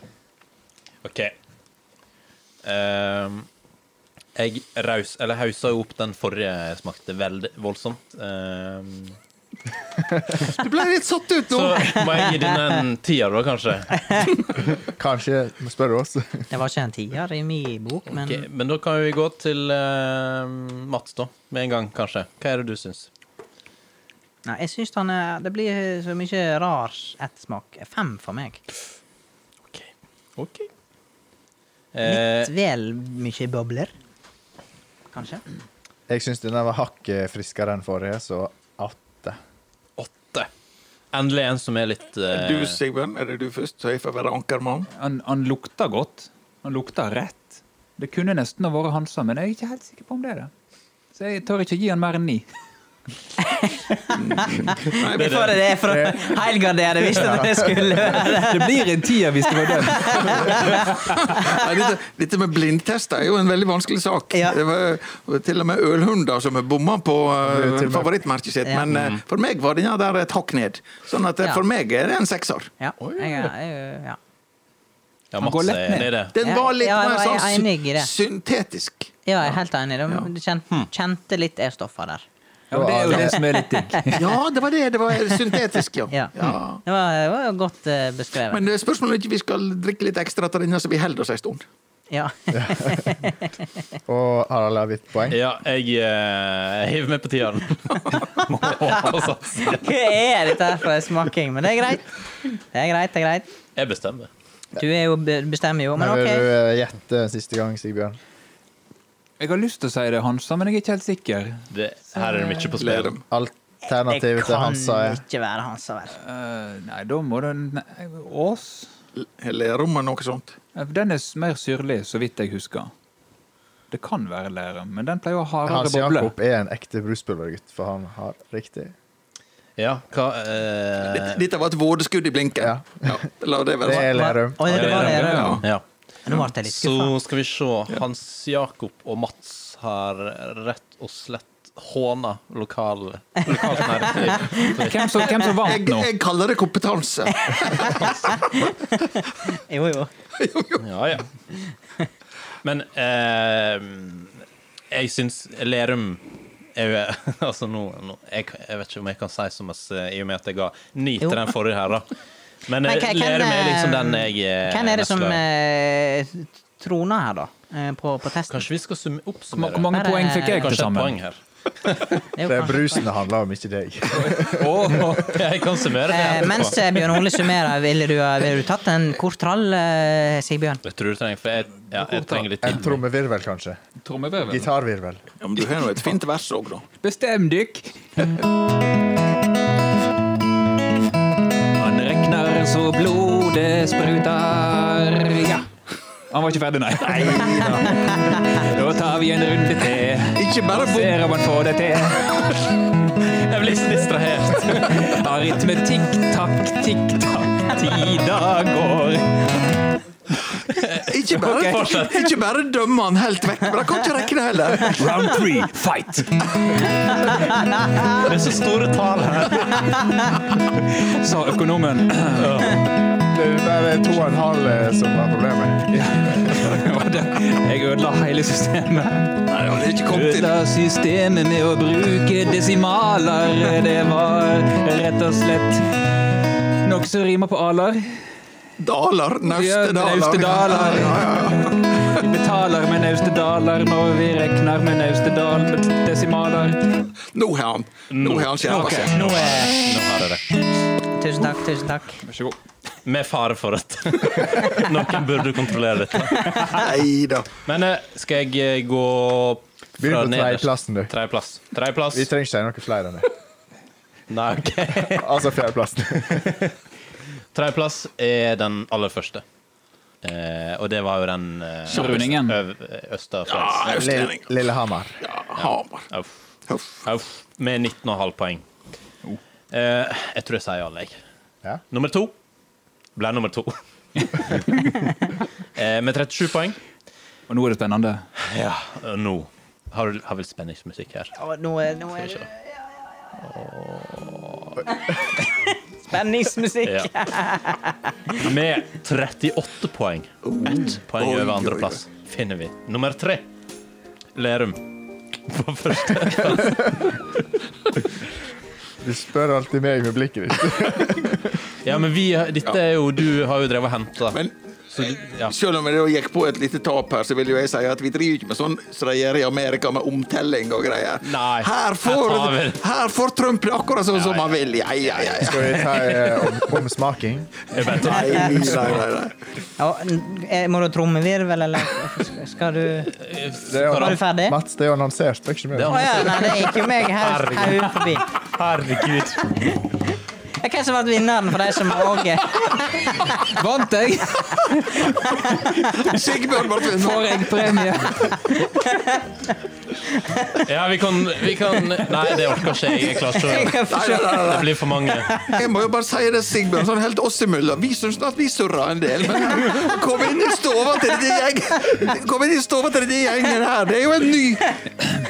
Speaker 5: OK. Ehm, jeg raus, eller hausa jo opp den forrige jeg smakte veldig voldsomt. Ehm,
Speaker 6: Du ble litt satt ut nå.
Speaker 5: så må jeg gi denne en tier, da, kanskje.
Speaker 3: Kanskje må spørre oss.
Speaker 1: Det var ikke en tier i min bok, men
Speaker 5: Ok, men da kan vi gå til ehm, Mats, da. Med en gang, kanskje. Hva er det du syns?
Speaker 1: Nei, jeg syns han er Det blir så mye rar ettersmak. Fem for meg.
Speaker 5: OK. okay.
Speaker 1: Litt
Speaker 5: Eh,
Speaker 1: vel mye bobler, kanskje.
Speaker 3: Jeg syns denne var hakket friskere enn forrige, så åtte.
Speaker 5: åtte. Endelig en som er litt eh,
Speaker 6: Du, Sigbjørn, er det du først, så jeg får være ankermann?
Speaker 4: Han, han lukter godt. Han lukter rett. Det kunne nesten ha vært Hansa, men jeg er ikke helt sikker på om det er det. Så jeg tør ikke gi han mer enn ni.
Speaker 1: Det var det for å helgardere, hvis det det skulle være.
Speaker 4: Det blir en tier hvis det var den.
Speaker 6: Nei, dette, dette med blindtester er jo en veldig vanskelig sak.
Speaker 1: Ja.
Speaker 6: Det var til og med ølhunder som bomma på eh,
Speaker 3: Det er til og med-
Speaker 6: favorittmerket sitt.
Speaker 1: Ja. Mm.
Speaker 6: Men eh, for meg var denne der et hakk ned. Sånn at eh,
Speaker 1: Ja.
Speaker 6: for meg er det en sekser.
Speaker 1: Ja, jeg, er- jeg, ja.
Speaker 5: Ja,
Speaker 4: går
Speaker 5: Mats
Speaker 4: lett
Speaker 5: er enig i det.
Speaker 6: Den
Speaker 1: Ja,
Speaker 6: var litt
Speaker 1: ja, jeg
Speaker 6: mer
Speaker 1: var
Speaker 6: sånn sy-
Speaker 1: enig i det.
Speaker 6: syntetisk.
Speaker 1: ja, jeg er helt enig. Du kjente, kjente litt E-stoffer der.
Speaker 4: Ja, men det er jo det som er litt digg.
Speaker 6: Ja, det var det. Det var syntetisk, ja.
Speaker 1: Ja.
Speaker 6: ja.
Speaker 1: Det var, det var godt eh, beskrevet.
Speaker 6: Men eh, spørsmålet er om ikke vi skal drikke litt ekstra til denne, så vi holder oss en stund.
Speaker 1: Ja.
Speaker 3: Og Harald har hvitt poeng.
Speaker 5: Ja, jeg eh, hiver meg på tieren. Må håpe og satse.
Speaker 1: Hva er dette her for en smaking? Men det er greit. Det er greit, det er greit.
Speaker 5: Jeg bestemmer.
Speaker 1: Du er jo, bestemmer jo, men
Speaker 3: Nå vil du
Speaker 1: OK.
Speaker 3: eh, gjette siste gang, Sigbjørn.
Speaker 4: Jeg har lyst til å si det, Hansa, men jeg er ikke helt sikker.
Speaker 5: Det, her er det mye på spill.
Speaker 6: Lerem.
Speaker 1: Det
Speaker 3: Alternativet til eh,
Speaker 1: kan
Speaker 3: Hansa er
Speaker 1: ikke være Hansa, vel.
Speaker 4: Eh, nei, da må den nei, Ås?
Speaker 6: Lerum eller noe sånt.
Speaker 4: Eh, Den er s- mer syrlig, så vidt jeg husker. Det kan være Lerum, men den pleier å ha
Speaker 3: Hans
Speaker 4: hardere boble.
Speaker 3: Jakob er en ekte bruspulvergutt, for han har riktig.
Speaker 5: Ja, hva eh,
Speaker 6: Dette- Dette var et vådeskudd i blinken.
Speaker 3: Ja.
Speaker 6: Ja, la det
Speaker 5: Altså,
Speaker 3: Det er
Speaker 6: være.
Speaker 3: Lerum.
Speaker 1: Å, ja, det var det.
Speaker 4: Ja.
Speaker 1: Rød.
Speaker 5: Ja.
Speaker 1: Nå ble jeg litt
Speaker 5: Så
Speaker 1: skuffa.
Speaker 5: skal vi se. Hans Jakob og Mats har rett og slett håna lokal, lokalt næringsliv.
Speaker 4: Hvem som, hvem som
Speaker 6: Jeg,
Speaker 4: vant nå?
Speaker 6: jeg kaller det kompetanse.
Speaker 1: Jo, jo.
Speaker 5: Ja, ja. Men eh, jeg syns Lerum er jo, altså nå, nå jeg, jeg vet ikke om jeg kan si så mye, i og med at jeg ga ni
Speaker 1: Jo.
Speaker 5: til den forrige her, da. Men,
Speaker 1: Men
Speaker 5: eh,
Speaker 1: hva- hvem,
Speaker 5: Lerum er liksom
Speaker 1: eh,
Speaker 5: den jeg eh,
Speaker 1: Hvem er det
Speaker 5: mest
Speaker 1: som
Speaker 5: glad i.
Speaker 1: eh, troner her, da? Eh, På, på testen?
Speaker 5: Kanskje vi skal summe-
Speaker 4: Hvor
Speaker 5: oppsummere?
Speaker 4: mange
Speaker 1: Bare-
Speaker 4: poeng fikk jeg til
Speaker 5: Kanskje et poeng
Speaker 4: sammen?
Speaker 5: her.
Speaker 1: Det er jo
Speaker 3: Det er
Speaker 1: kanskje-
Speaker 3: brusen det handler om, ikke deg.
Speaker 4: Åh,
Speaker 5: Jeg kan summere det.
Speaker 1: Eh,
Speaker 5: etterpå.
Speaker 1: mens eh, Bjørn Ole summerer, ville du, eh, ville du tatt en kort trall, eh, Sigbjørn?
Speaker 5: Jeg tror du trenger For jeg, ja, jeg trenger litt
Speaker 3: En
Speaker 5: tid.
Speaker 3: trommevirvel, kanskje.
Speaker 4: Trommeveven.
Speaker 3: Gitarvirvel.
Speaker 6: Ja, men du har jo et fint vers òg, da.
Speaker 4: Bestem dykk! Han regner så blodet spruter. Ja. Han var ikke ferdig, nei. Da tar vi en runde til.
Speaker 6: Ikke bare
Speaker 4: Og ser om han får det til.
Speaker 5: Jeg blir så distrahert.
Speaker 4: Arytme tikk-takk, tikk-takk, tida går.
Speaker 6: Ikke bare,
Speaker 4: Ok,
Speaker 6: ikke bare dømme han helt vekk, men han kan ikke rekke det heller.
Speaker 4: Round three, fight!
Speaker 5: Det er så store tall her.
Speaker 4: Sa økonomen.
Speaker 3: Det er bare to og en halv eh, som var problemet.
Speaker 4: Jeg ødela hele systemet.
Speaker 6: Nei, han er ikke kommet til
Speaker 4: Ødela systemet med å bruke desimaler. Det var rett og slett noe som rimer på aler.
Speaker 6: Dalar.
Speaker 4: Ja,
Speaker 6: Naustedalar.
Speaker 4: Naustedalar.
Speaker 6: Ja, ja, ja.
Speaker 4: Vi betaler med naustedaler når vi regner med naustedal med desimaler.
Speaker 6: Nå har han Nå har han skjerpa seg.
Speaker 5: Nå, er, nå har jeg det.
Speaker 1: Tusen takk, tusen takk.
Speaker 4: Vær så god.
Speaker 5: Med fare for at noen burde kontrollere dette.
Speaker 6: Nei da.
Speaker 5: Men eh, skal jeg eh, gå fra
Speaker 3: Begynn på tredjeplassen, du.
Speaker 5: Tredjeplass. Tredjeplass?
Speaker 3: Vi trenger ikke si noe flere enn det.
Speaker 5: Nei, ok.
Speaker 3: Altså fjerdeplassen.
Speaker 5: Tredjeplass er den aller første. Eh, og det var jo den eh,
Speaker 4: Rundingen.
Speaker 5: øv- Østerfrans.
Speaker 6: Ja, Østlending.
Speaker 3: Lill- Lillehammer.
Speaker 6: Ja, Hamar.
Speaker 5: Uff.
Speaker 6: Huff.
Speaker 5: Uff. Med 19,5 poeng. Eh, jeg tror jeg sier alle, jeg.
Speaker 3: Ja.
Speaker 5: Nummer to ble nummer to. eh, med 37 poeng.
Speaker 4: Og nå er det spennende.
Speaker 5: Ja, og nå har, du- har vel spenningsmusikk her.
Speaker 1: Å, nå er, nå er
Speaker 5: Skal vi se.
Speaker 1: spenningsmusikk.
Speaker 5: Ja. Med 38 poeng. Ett poeng
Speaker 6: Oi,
Speaker 5: over
Speaker 6: oi,
Speaker 5: andreplass finner vi nummer tre. Lerum. På første.
Speaker 3: Du spør alltid meg med blikket ditt.
Speaker 5: Ja, men vi, dette er jo Du har jo drevet og henta.
Speaker 6: Men
Speaker 5: Så du, ja.
Speaker 6: selv om jeg da gikk på et lite tap her, så vil jo jeg si at vi driver jo ikke med sånn som de gjør i Amerika, med omtelling og greier.
Speaker 5: Nei,
Speaker 6: her,
Speaker 5: her
Speaker 6: får,
Speaker 5: tar vi det.
Speaker 6: her får Trump det akkurat sånn som han vil. Ja, ja, ja. ja.
Speaker 3: Skal vi ta eh, om- omsmaking?
Speaker 6: Nei, nei, nei, nei.
Speaker 1: Ja, n- eh, må du ha trommevirvel, eller skal du
Speaker 3: Det er jo-
Speaker 1: Var du ferdig?
Speaker 3: Mats, det er jo annonsert. Det er ikke så mye.
Speaker 5: Det er
Speaker 1: Å ja, nei, det gikk jo meg her, her ute forbi.
Speaker 5: Herregud.
Speaker 1: Ja, Eh, Hvem som ble vinneren for de som òg
Speaker 4: Vant jeg?
Speaker 6: Sigbjørn Bartvin, nå-
Speaker 4: Får jeg premie?
Speaker 5: Ja, vi kan, vi kan Nei, det orker ikke jeg. Jeg klarer ikke å
Speaker 6: Nei, nei, nei, nei.
Speaker 5: Det blir for mange.
Speaker 6: Jeg må jo bare si det, Sigbjørn, sånn helt oss imellom. Vi syns at vi surra en del, men å komme inn i stua til de gjeng- Kom inn i stua til de gjengen her, det er jo en ny,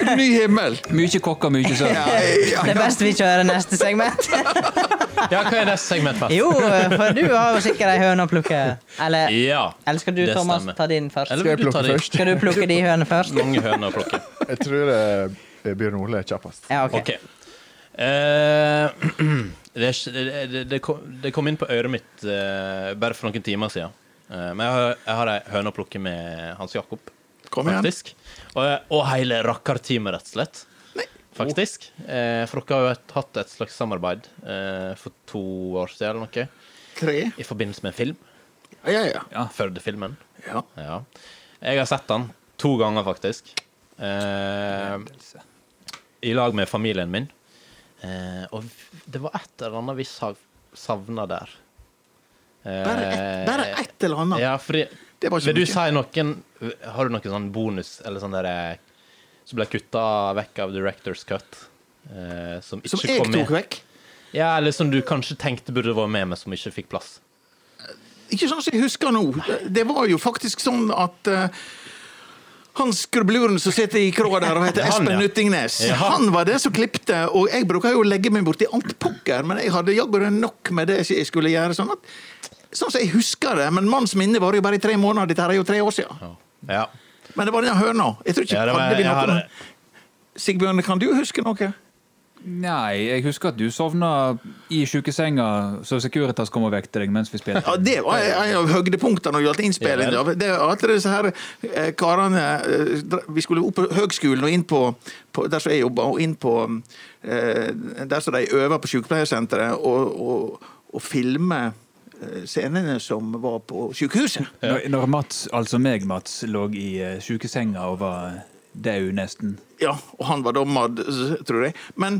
Speaker 6: en ny himmel.
Speaker 4: Mye kokker, mye søvn.
Speaker 6: Ja, ja,
Speaker 1: Det er
Speaker 6: ja.
Speaker 1: best vi kjører neste segment.
Speaker 5: Ja, hva er neste segment? Mats?
Speaker 1: Jo, for du har jo sikkert ei høne å plukke. Eller,
Speaker 5: Ja.
Speaker 1: eller skal du,
Speaker 5: det
Speaker 1: Thomas,
Speaker 5: stemmer.
Speaker 1: ta din først?
Speaker 5: Eller
Speaker 3: Skal jeg
Speaker 5: vil du ta
Speaker 3: plukke
Speaker 5: de
Speaker 3: først?
Speaker 1: Skal du plukke de hønene først?
Speaker 5: mange høner å plukke?
Speaker 3: Jeg tror eh, Bjørn Ole er kjappest.
Speaker 1: Ja, ok.
Speaker 5: OK. Eh, det, er ikke- det, det, det kom- det kom inn på øret mitt eh, bare for noen timer siden. Eh, Men jeg har, jeg har ei høne å plukke med Hans Jakob,
Speaker 6: Kom igjen.
Speaker 5: faktisk. Og, og hele rakkerteamet, rett og slett. Faktisk. Eh, For dere har jo et- hatt et slags samarbeid eh, for to år siden eller noe,
Speaker 6: Tre.
Speaker 5: i forbindelse med en film.
Speaker 6: Ja, ja, ja.
Speaker 5: Førde-filmen.
Speaker 6: ja.
Speaker 5: Ja. Jeg har sett den to ganger, faktisk. Eh, I lag med familien min. Eh, og v- det var et eller annet vi savna der. Eh,
Speaker 6: Bare ett, bare ett eller annet.
Speaker 5: Ja, fordi
Speaker 6: Det var ikke
Speaker 5: Vil du
Speaker 6: mye.
Speaker 5: si noen Har du noen sånn bonus eller sånn derre som ble kutta vekk av Directors Cut? Eh, som ikke
Speaker 6: Som jeg
Speaker 5: kom
Speaker 6: tok
Speaker 5: med.
Speaker 6: vekk.
Speaker 5: Ja, eller som du kanskje tenkte burde vært med, men som ikke fikk plass.
Speaker 6: Ikke sånn som jeg husker nå. Det var jo faktisk sånn at eh, han skrubbeluren som sitter i kråa der og heter
Speaker 5: Det er han,
Speaker 6: Espen
Speaker 5: ja.
Speaker 6: Nyttingnes,
Speaker 5: Ja.
Speaker 6: han var den som klipte, og jeg bruker jo å legge meg borti alt pokker, men jeg hadde jaggu nok med det jeg skulle gjøre. Sånn at Sånn som jeg husker det, men manns minne varer jo bare i tre måneder. Dette her er jo tre år siden.
Speaker 5: Ja. ja.
Speaker 6: Men det var den høna. Jeg tror ikke
Speaker 5: ja det var,
Speaker 6: hadde vi
Speaker 5: jeg
Speaker 6: noe
Speaker 5: har,
Speaker 6: med- Sigbjørn, kan du huske noe?
Speaker 4: Nei, jeg husker at du sovna i sjukesenga, så Securitas kom og vekte deg mens vi
Speaker 6: Ja,
Speaker 4: spilte.
Speaker 6: Det var en av høydepunktene når det gjaldt innspilling.
Speaker 5: Ja
Speaker 6: da. Det var at disse her eh, karene eh, dra- Vi skulle opp på høgskolen og inn på, på der som jeg jobba, og inn på eh, der som de øver på sykepleiersenteret, og, og, og filme eh, scenene som var på sykehuset.
Speaker 4: Når, når Mats, altså meg, Mats, lå i eh, sjukesenga og var dau nesten.
Speaker 6: Ja, og han var da mad, tror jeg. Men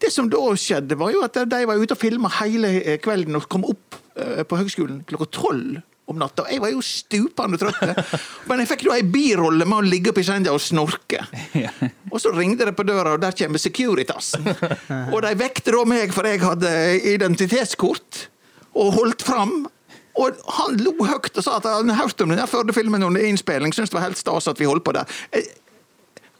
Speaker 6: det som da skjedde, var jo at de var ute og filma hele eh, kvelden og kom opp eh, på høgskolen klokka tolv om natta. Jeg var jo stupende trøtt. Men jeg fikk da ei birolle med å ligge oppi senga og snorke. Og så ringte det på døra, og der kommer Securitas. Og de vekte da meg, for jeg hadde identitetskort, og holdt fram. Og han lo høyt og sa at han hørte om den der Førde-filmen under innspilling. Syntes det var helt stas at vi holdt på der. Jeg-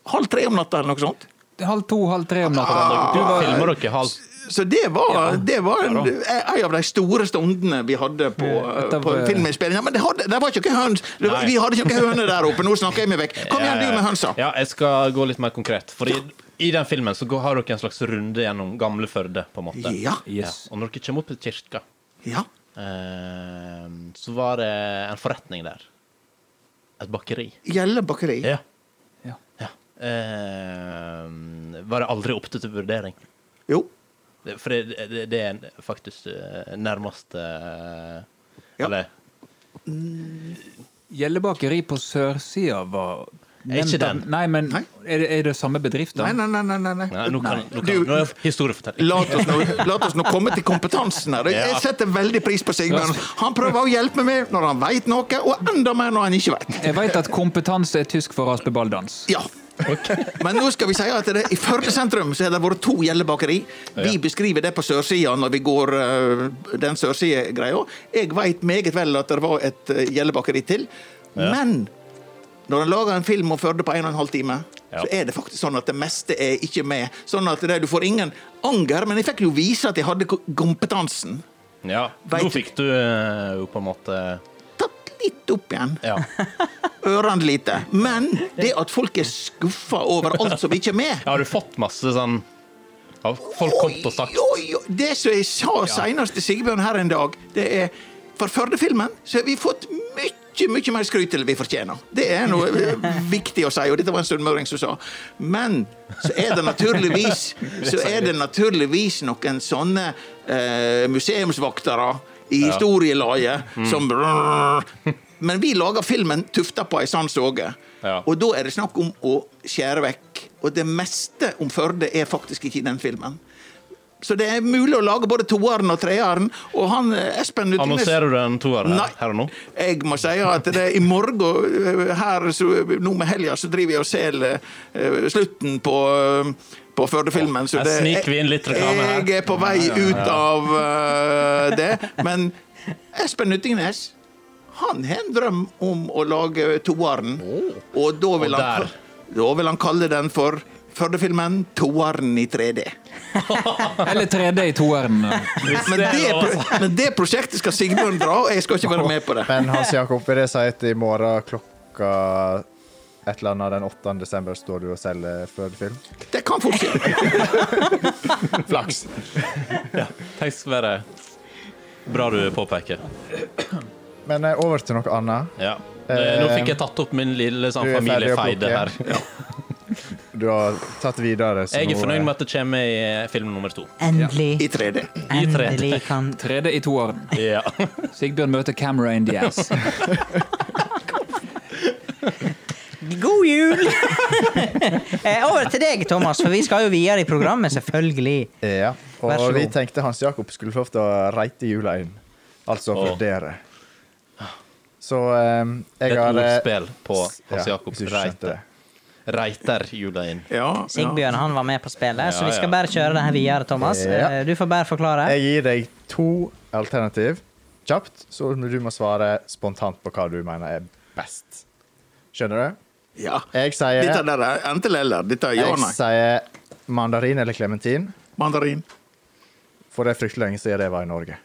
Speaker 6: halv tre om natta eller noe sånt.
Speaker 4: Halv to, halv tre om natta. Du var
Speaker 5: filmer dere halvt
Speaker 6: Så det var, det var en, en av de store stundene vi hadde på, eh, på
Speaker 4: dette var-
Speaker 6: filminnspillingen. Men det, hadde, det var ikke noe høns. Det var,
Speaker 5: eh, Nei.
Speaker 6: vi hadde ikke noe høne der oppe. Nå snakker jeg meg vekk. Kom igjen, du med hønsa.
Speaker 5: Ja, jeg skal gå litt mer konkret. Fordi i den filmen så går- har dere en slags runde gjennom gamle Førde, på en måte.
Speaker 6: Ja.
Speaker 4: Yes.
Speaker 5: Ja, Og når dere kommer opp til kirka,
Speaker 6: Ja.
Speaker 5: eh, så var det en forretning der. Et bakeri.
Speaker 6: Gjelle bakeri.
Speaker 5: Ja.
Speaker 4: Ja.
Speaker 5: ja. Eh, var det aldri opp til til vurdering?
Speaker 6: Jo.
Speaker 5: Det- For det, det, det er en- faktisk eh, nærmest eh,
Speaker 6: Ja.
Speaker 5: Eller
Speaker 4: Gjelle bakeri på sørsida var
Speaker 5: Er ikke
Speaker 4: nevnt av-
Speaker 5: den?
Speaker 4: Nei, men
Speaker 6: Nei.
Speaker 4: er det, er det samme bedrift, da?
Speaker 6: Nei, nei, nei. nei, nei, nei.
Speaker 5: Nei, nå kan, nå kan,
Speaker 6: Du-
Speaker 5: nå er historiefortelling.
Speaker 6: La oss, nå, la oss nå komme til kompetansen her. Jeg, jeg setter veldig pris på Sigbjørn. Han prøver å hjelpe meg når han veit noe, og enda mer når han ikke veit.
Speaker 4: Jeg veit at kompetanse er tysk for raspeballdans.
Speaker 6: Ja. Men nå skal vi si at det, i Førde sentrum så har det vært to gjellebakeri. Vi beskriver det på sørsida når vi går øh, den sørsidegreia. Jeg veit meget vel at det var et øh, gjellebakeri til. Men når en lager en film om Førde på en og en halv time,
Speaker 5: Ja.
Speaker 6: så er det faktisk sånn at det meste er ikke med. Sånn at det, du får ingen anger, men jeg fikk jo vise at jeg hadde ko- kompetansen.
Speaker 5: Ja,
Speaker 6: Vet
Speaker 5: nå
Speaker 6: du-
Speaker 5: fikk du eh, jo på en måte
Speaker 6: Tatt litt opp igjen.
Speaker 5: Ja.
Speaker 6: Ørene lite. Men det at folk er skuffa over alt som ikke er med
Speaker 5: Ja, Har du fått masse sånn ja, Folk kom og sagt
Speaker 6: Oi, oi, oi. Det som jeg sa senest til Sigbjørn her en dag, det er for Førde-filmen så har vi fått mye, mye mer skryt enn vi fortjener. Det er noe eh, viktig å si, og dette var en sunnmøring som sa. Men så er det naturligvis så er det naturligvis noen sånne eh, museumsvaktere i historielaget
Speaker 5: Mm.
Speaker 6: som Men vi lager filmen tufta på ei sann såge.
Speaker 5: Ja.
Speaker 6: Og da er det snakk om å skjære vekk. Og det meste om Førde er faktisk ikke i den filmen. Så det er mulig å lage både toeren og treeren. Og han eh, Espen Nyttingnes-
Speaker 5: Annonserer du en toer her,
Speaker 6: Nei.
Speaker 5: her og nå?
Speaker 6: Jeg må si at det er i morgen eh, her, så, nå med helga, så driver jeg og selger eh, slutten på eh, på Førde-filmen. så
Speaker 5: Her
Speaker 6: det-
Speaker 5: sniker vi inn litt reklame her.
Speaker 6: Jeg er på vei ut av eh, det. Men Espen Nyttingnes, han har en drøm om å lage toeren. Og da vil,
Speaker 5: Og
Speaker 6: han,
Speaker 5: der.
Speaker 6: da vil han kalle den for Førde-filmen 'Toeren i 3D'.
Speaker 4: Eller 3D i toeren.
Speaker 6: Men det, pro- men det prosjektet skal Sigbjørn dra, og jeg skal ikke være med på det.
Speaker 3: Men Hans Jakob, vil det si at i morgen klokka et eller annet den 8. desember står du og selger fødefilm?
Speaker 6: Det kan fort skje.
Speaker 3: Flaks!
Speaker 5: Takk skal være bra du påpeker.
Speaker 3: Men eh, over til noe annet.
Speaker 5: Ja. Eh, Nå fikk jeg tatt opp min lille sånn,
Speaker 3: Du er ferdig å
Speaker 5: familiefeide her.
Speaker 3: plukke. Du har tatt videre. så
Speaker 5: Jeg er
Speaker 3: nå,
Speaker 5: fornøyd
Speaker 3: eh,
Speaker 5: med at det kommer i eh, film nummer to.
Speaker 1: Endelig.
Speaker 6: I 3D.
Speaker 5: I tre.
Speaker 1: Endelig kan
Speaker 4: 3D i toeren.
Speaker 5: Ja.
Speaker 4: Sigbjørn møter Camera in the ass.
Speaker 1: God jul! Eh, Over til deg, Thomas, for vi skal jo videre i programmet, selvfølgelig.
Speaker 3: Ja,
Speaker 1: Vær så
Speaker 3: og vi
Speaker 1: god.
Speaker 3: tenkte Hans Jakob skulle få lov til å reite jula inn. Altså
Speaker 5: Åh.
Speaker 3: vurdere. Så eh,
Speaker 5: Det
Speaker 3: jeg
Speaker 5: er
Speaker 3: har
Speaker 5: et
Speaker 3: eh,
Speaker 5: ordspill på Hans
Speaker 3: ja,
Speaker 5: Jakob
Speaker 3: hvis du ikke skjønte
Speaker 5: Reiter.
Speaker 3: det.
Speaker 5: Reiter jula inn.
Speaker 6: Ja, ja.
Speaker 1: Sigbjørn han var med på spillet, så
Speaker 5: Ja,
Speaker 1: vi skal
Speaker 5: ja.
Speaker 1: bare kjøre det her videre, Thomas.
Speaker 3: Ja.
Speaker 1: Eh, Du får bare forklare.
Speaker 3: Jeg gir deg to alternativ kjapt, så du må svare spontant på hva du mener er best. Skjønner du?
Speaker 6: ja.
Speaker 3: Jeg sier,
Speaker 6: Dette der er enten eller. Dette er ja
Speaker 3: jeg
Speaker 6: og nei.
Speaker 3: sier mandarin eller klementin,
Speaker 6: Mandarin.
Speaker 3: for det er fryktelig lenge siden jeg var i Norge.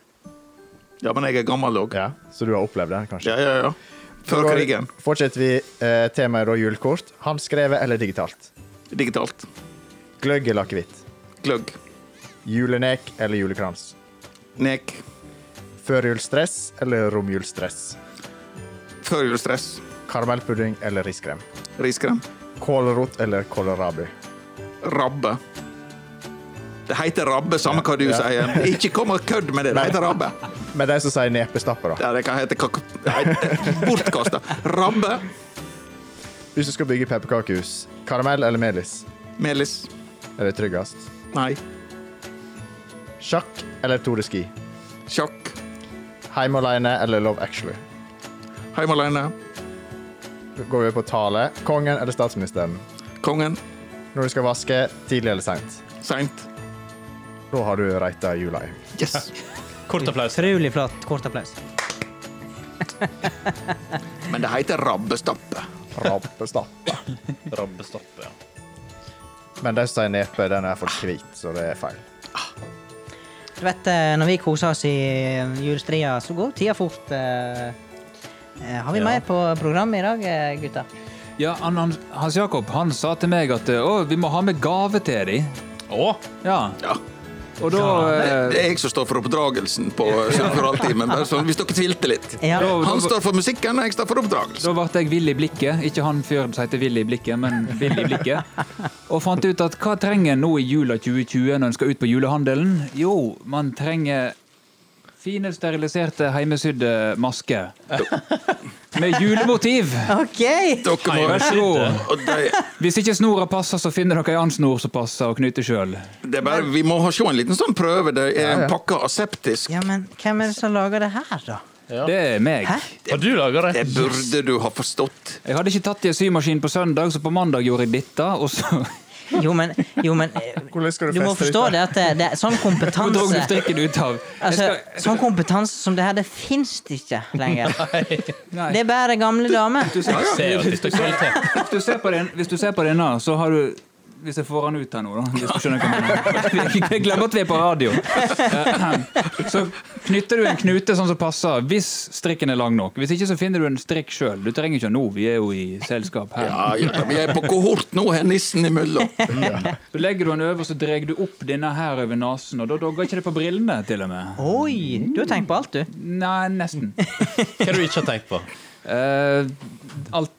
Speaker 6: Ja, men jeg er gammel òg.
Speaker 3: Ja, Så du har opplevd den, kanskje?
Speaker 6: Ja, ja, ja. Før
Speaker 3: Så
Speaker 6: krigen.
Speaker 3: Fortsetter vi eh, temaet da julekort. Håndskrevet eller digitalt?
Speaker 6: Digitalt.
Speaker 3: Gløgg eller akevitt?
Speaker 6: Gløgg.
Speaker 3: Julenek eller julekrans?
Speaker 6: Nek.
Speaker 3: Førjulsstress eller romjulsstress?
Speaker 6: Førjulsstress.
Speaker 3: Karamellpudding eller riskrem?
Speaker 6: Riskrem.
Speaker 3: Kålrot eller kålrabi?
Speaker 6: Rabbe. Det heter rabbe, samme hva du
Speaker 3: Ja.
Speaker 6: sier. Ikke kom og kødd med det. Det heter rabbe.
Speaker 3: Men de som sier nepestappe, da.
Speaker 6: Ja, det kan hete kak... Nei, Bortkasta. Rabbe.
Speaker 3: Hvis du skal bygge pepperkakehus, karamell eller melis?
Speaker 6: Melis.
Speaker 3: Er det tryggest?
Speaker 6: Nei.
Speaker 3: Sjakk eller Tore Ski?
Speaker 6: Sjakk.
Speaker 3: Heim alene eller Love Actually?
Speaker 6: Heim alene.
Speaker 3: Går vi på tale. Kongen eller statsministeren?
Speaker 6: Kongen.
Speaker 3: Når du skal vaske, tidlig eller seint?
Speaker 6: Seint.
Speaker 3: Da har du reita jula i.
Speaker 6: Yes.
Speaker 5: Kort applaus.
Speaker 1: Utrolig flott. Kort applaus.
Speaker 6: Men det heter
Speaker 1: Eh.
Speaker 6: rabbestappe.
Speaker 3: Rampestappe.
Speaker 5: Rabbestopp, ja.
Speaker 3: Men de som sier nepe, den er for hvit, så det er feil.
Speaker 1: Du vet, eh, når vi koser oss i julestria, så går tida fort. eh. Eh, Har vi
Speaker 5: Ja.
Speaker 1: mer på programmet i dag, eh, gutter?
Speaker 4: Ja, han, han, Hans Jakob han sa til meg at eh, å, vi må ha med gave til dem.
Speaker 5: Å,
Speaker 4: Ja.
Speaker 6: Ja.
Speaker 4: Og da
Speaker 6: Det
Speaker 4: eh,
Speaker 6: er jeg som står for oppdragelsen på Sørforaltimen, bare sånn hvis dere tvilte litt.
Speaker 1: Ja.
Speaker 4: Da-
Speaker 6: Han står for musikken, og jeg står for oppdragelsen.
Speaker 4: da ble jeg vill i blikket. Ikke han fyren som heter Vill i blikket, men Vill i blikket. Og fant ut at hva trenger en nå i jula 2020 når en skal ut på julehandelen? Jo, man trenger fine, steriliserte, heimesydde masker. Med julemotiv!
Speaker 1: OK!
Speaker 6: Dere må,
Speaker 4: Vær så god.
Speaker 6: og det,
Speaker 4: Hvis ikke snora passer, så finner dere en annen snor som passer, og knyter sjøl.
Speaker 6: det er bare, vi må ha se en liten sånn prøve. Det er en pakke aseptisk.
Speaker 1: Ja, men hvem er det som lager det her, da?
Speaker 4: Det er meg.
Speaker 1: Hæ?
Speaker 5: har du laga det?
Speaker 6: Det burde du ha forstått.
Speaker 4: Jeg hadde ikke tatt i en symaskin på søndag, så på mandag gjorde jeg dette, og så
Speaker 1: Jo, men, jo, men eh,
Speaker 3: Hvordan skal
Speaker 1: Du
Speaker 3: du
Speaker 1: må
Speaker 3: feste
Speaker 1: forstå
Speaker 3: dette?
Speaker 1: det at det, det er sånn
Speaker 4: så dro du
Speaker 1: kompetanse
Speaker 4: strikken ut av Jeg
Speaker 1: Altså,
Speaker 4: skal-
Speaker 1: Sånn kompetanse som det her, det fins ikke lenger.
Speaker 4: Nei.
Speaker 1: Det er bare gamle damer.
Speaker 4: Du ser-
Speaker 5: Jeg ser jo at det er kvalitet.
Speaker 4: Hvis du ser på den- Hvis du ser på denne, så har du hvis jeg får han ut her nå, da. Hvis du skjønner hva jeg mener. Jeg glemmer at vi er på radio. Eh, Så knytter du en knute sånn som passer, hvis strikken er lang nok. Hvis ikke så finner du en strikk sjøl. Du trenger ikke nå, vi er jo i selskap her.
Speaker 6: Ja, ja, vi er på kohort nå, her nissen imellom.
Speaker 4: Så legger du den over, så drar du opp denne her over nesen, og da dogger ikke det på brillene, til og med.
Speaker 1: Oi! Du har tenkt på alt, du.
Speaker 4: Nei, nesten.
Speaker 5: Hva har du ikke har tenkt på?
Speaker 4: Eh, alt,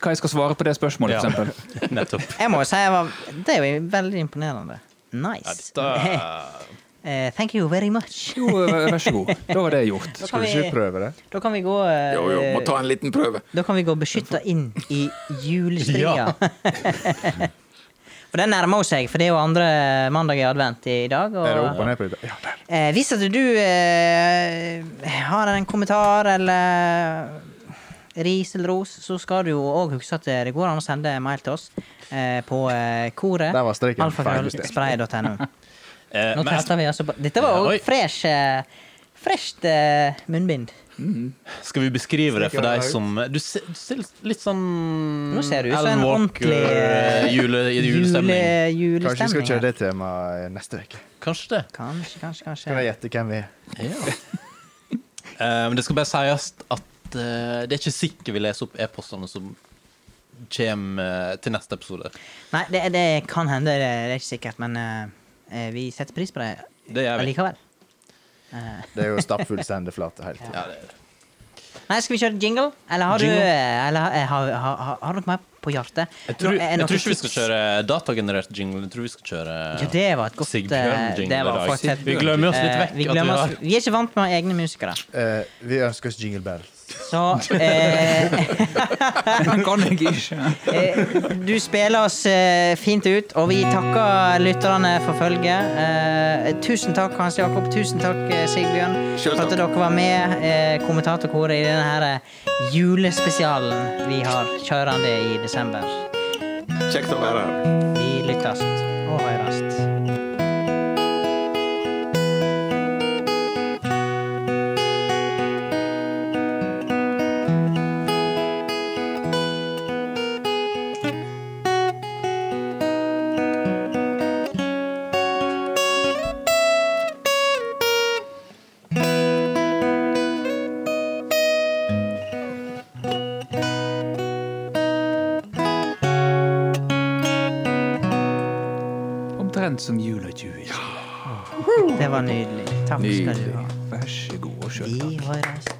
Speaker 4: hva jeg skal svare på det spørsmålet,
Speaker 5: Ja.
Speaker 4: for eksempel.
Speaker 5: Nettopp.
Speaker 1: Jeg må jo si jeg var Det er jo veldig imponerende. Nice.
Speaker 5: Da-
Speaker 1: Eh, thank you very much.
Speaker 4: Jo, eh, vær så god. Da var det gjort.
Speaker 1: kan
Speaker 3: Skulle du
Speaker 1: vi-
Speaker 3: ikke prøve det?
Speaker 1: Da kan vi gå eh,
Speaker 6: Jo, jo, må ta en liten prøve.
Speaker 1: Da kan vi gå beskytta inn i julestria.
Speaker 5: Ja.
Speaker 1: For den nærmer jo seg, for det er jo andre mandag i advent i dag. Og,
Speaker 3: Er det opp og ned på dette? Ja, der.
Speaker 1: Eh, hvis at du eh, har en kommentar eller ris eller ros, så skal du jo òg huske at eh, det går an å sende mail til oss eh, på eh, koret.
Speaker 3: Der var streken feilbestemt.
Speaker 1: Alfakrøllspray.no.
Speaker 5: Eh,
Speaker 1: Nå
Speaker 5: men
Speaker 1: tester vi altså på Dette var
Speaker 5: Ja, oi.
Speaker 1: òg fresh, eh, fresht eh, munnbind.
Speaker 5: Skal vi beskrive det for
Speaker 3: Stikker
Speaker 5: deg
Speaker 3: deg ut.
Speaker 5: som Du ser, du ser litt sånn
Speaker 1: Nå ser du ut som en
Speaker 5: Alan Walker,
Speaker 1: ordentlig,
Speaker 5: eh, jule, i
Speaker 1: Jule,
Speaker 5: julestemning.
Speaker 3: Kanskje vi skal
Speaker 1: julestemning.
Speaker 3: kjøre
Speaker 1: her.
Speaker 3: det temaet neste uke.
Speaker 5: Kanskje det.
Speaker 1: Kanskje, kanskje,
Speaker 3: Kan
Speaker 1: kanskje.
Speaker 3: jeg gjette hvem vi er?
Speaker 5: Eh, men det skal bare sies at eh, det er ikke sikkert vi leser opp e-postene som kommer eh, til neste episode.
Speaker 1: Nei, det, det kan hende, det er ikke sikkert, men eh, eh, vi setter pris på det
Speaker 5: Det gjør vi.
Speaker 1: allikevel.
Speaker 3: Det er jo stappfull sendeflate hele tiden.
Speaker 5: Ja, det er det.
Speaker 1: Nei, skal vi kjøre jingle? Eller har du eller, eh, har, har, har, har dere mer på hjertet?
Speaker 5: Jeg tror,
Speaker 1: Nå- er
Speaker 5: jeg
Speaker 1: noen
Speaker 5: tror ikke vi skal
Speaker 1: tips?
Speaker 5: kjøre datagenerert jingle. Jeg tror vi skal kjøre
Speaker 1: Ja, det var et godt eh,
Speaker 5: Sigbjørn-jingle
Speaker 1: det
Speaker 5: i
Speaker 1: var
Speaker 5: dag.
Speaker 1: faktisk et-
Speaker 5: Vi glemmer oss litt
Speaker 1: eh,
Speaker 5: vekk
Speaker 1: Vi,
Speaker 5: at vi
Speaker 1: glemmer
Speaker 5: har-
Speaker 1: oss, vi er ikke vant med å ha egne musikere.
Speaker 3: Eh, vi ønsker oss jingle bells.
Speaker 1: Så eh,
Speaker 4: kan jeg ikke.
Speaker 1: Eh, Du spiller oss eh, fint ut, og vi takker lytterne for følget. Eh, Tusen takk, Hans Jakob. Tusen takk, eh, Sigbjørn,
Speaker 6: Selv
Speaker 1: for at
Speaker 6: takk.
Speaker 1: dere var med, eh, kommentatorkoret, i denne her eh, julespesialen vi har kjørende i desember.
Speaker 6: Kjekt å være her.
Speaker 1: Vi lyttes og høres.
Speaker 4: Omtrent som jula 2020.
Speaker 1: Det var nydelig. Takk skal du ha.
Speaker 4: Vær så god og sjøl
Speaker 1: Vi
Speaker 4: takk.
Speaker 1: høres.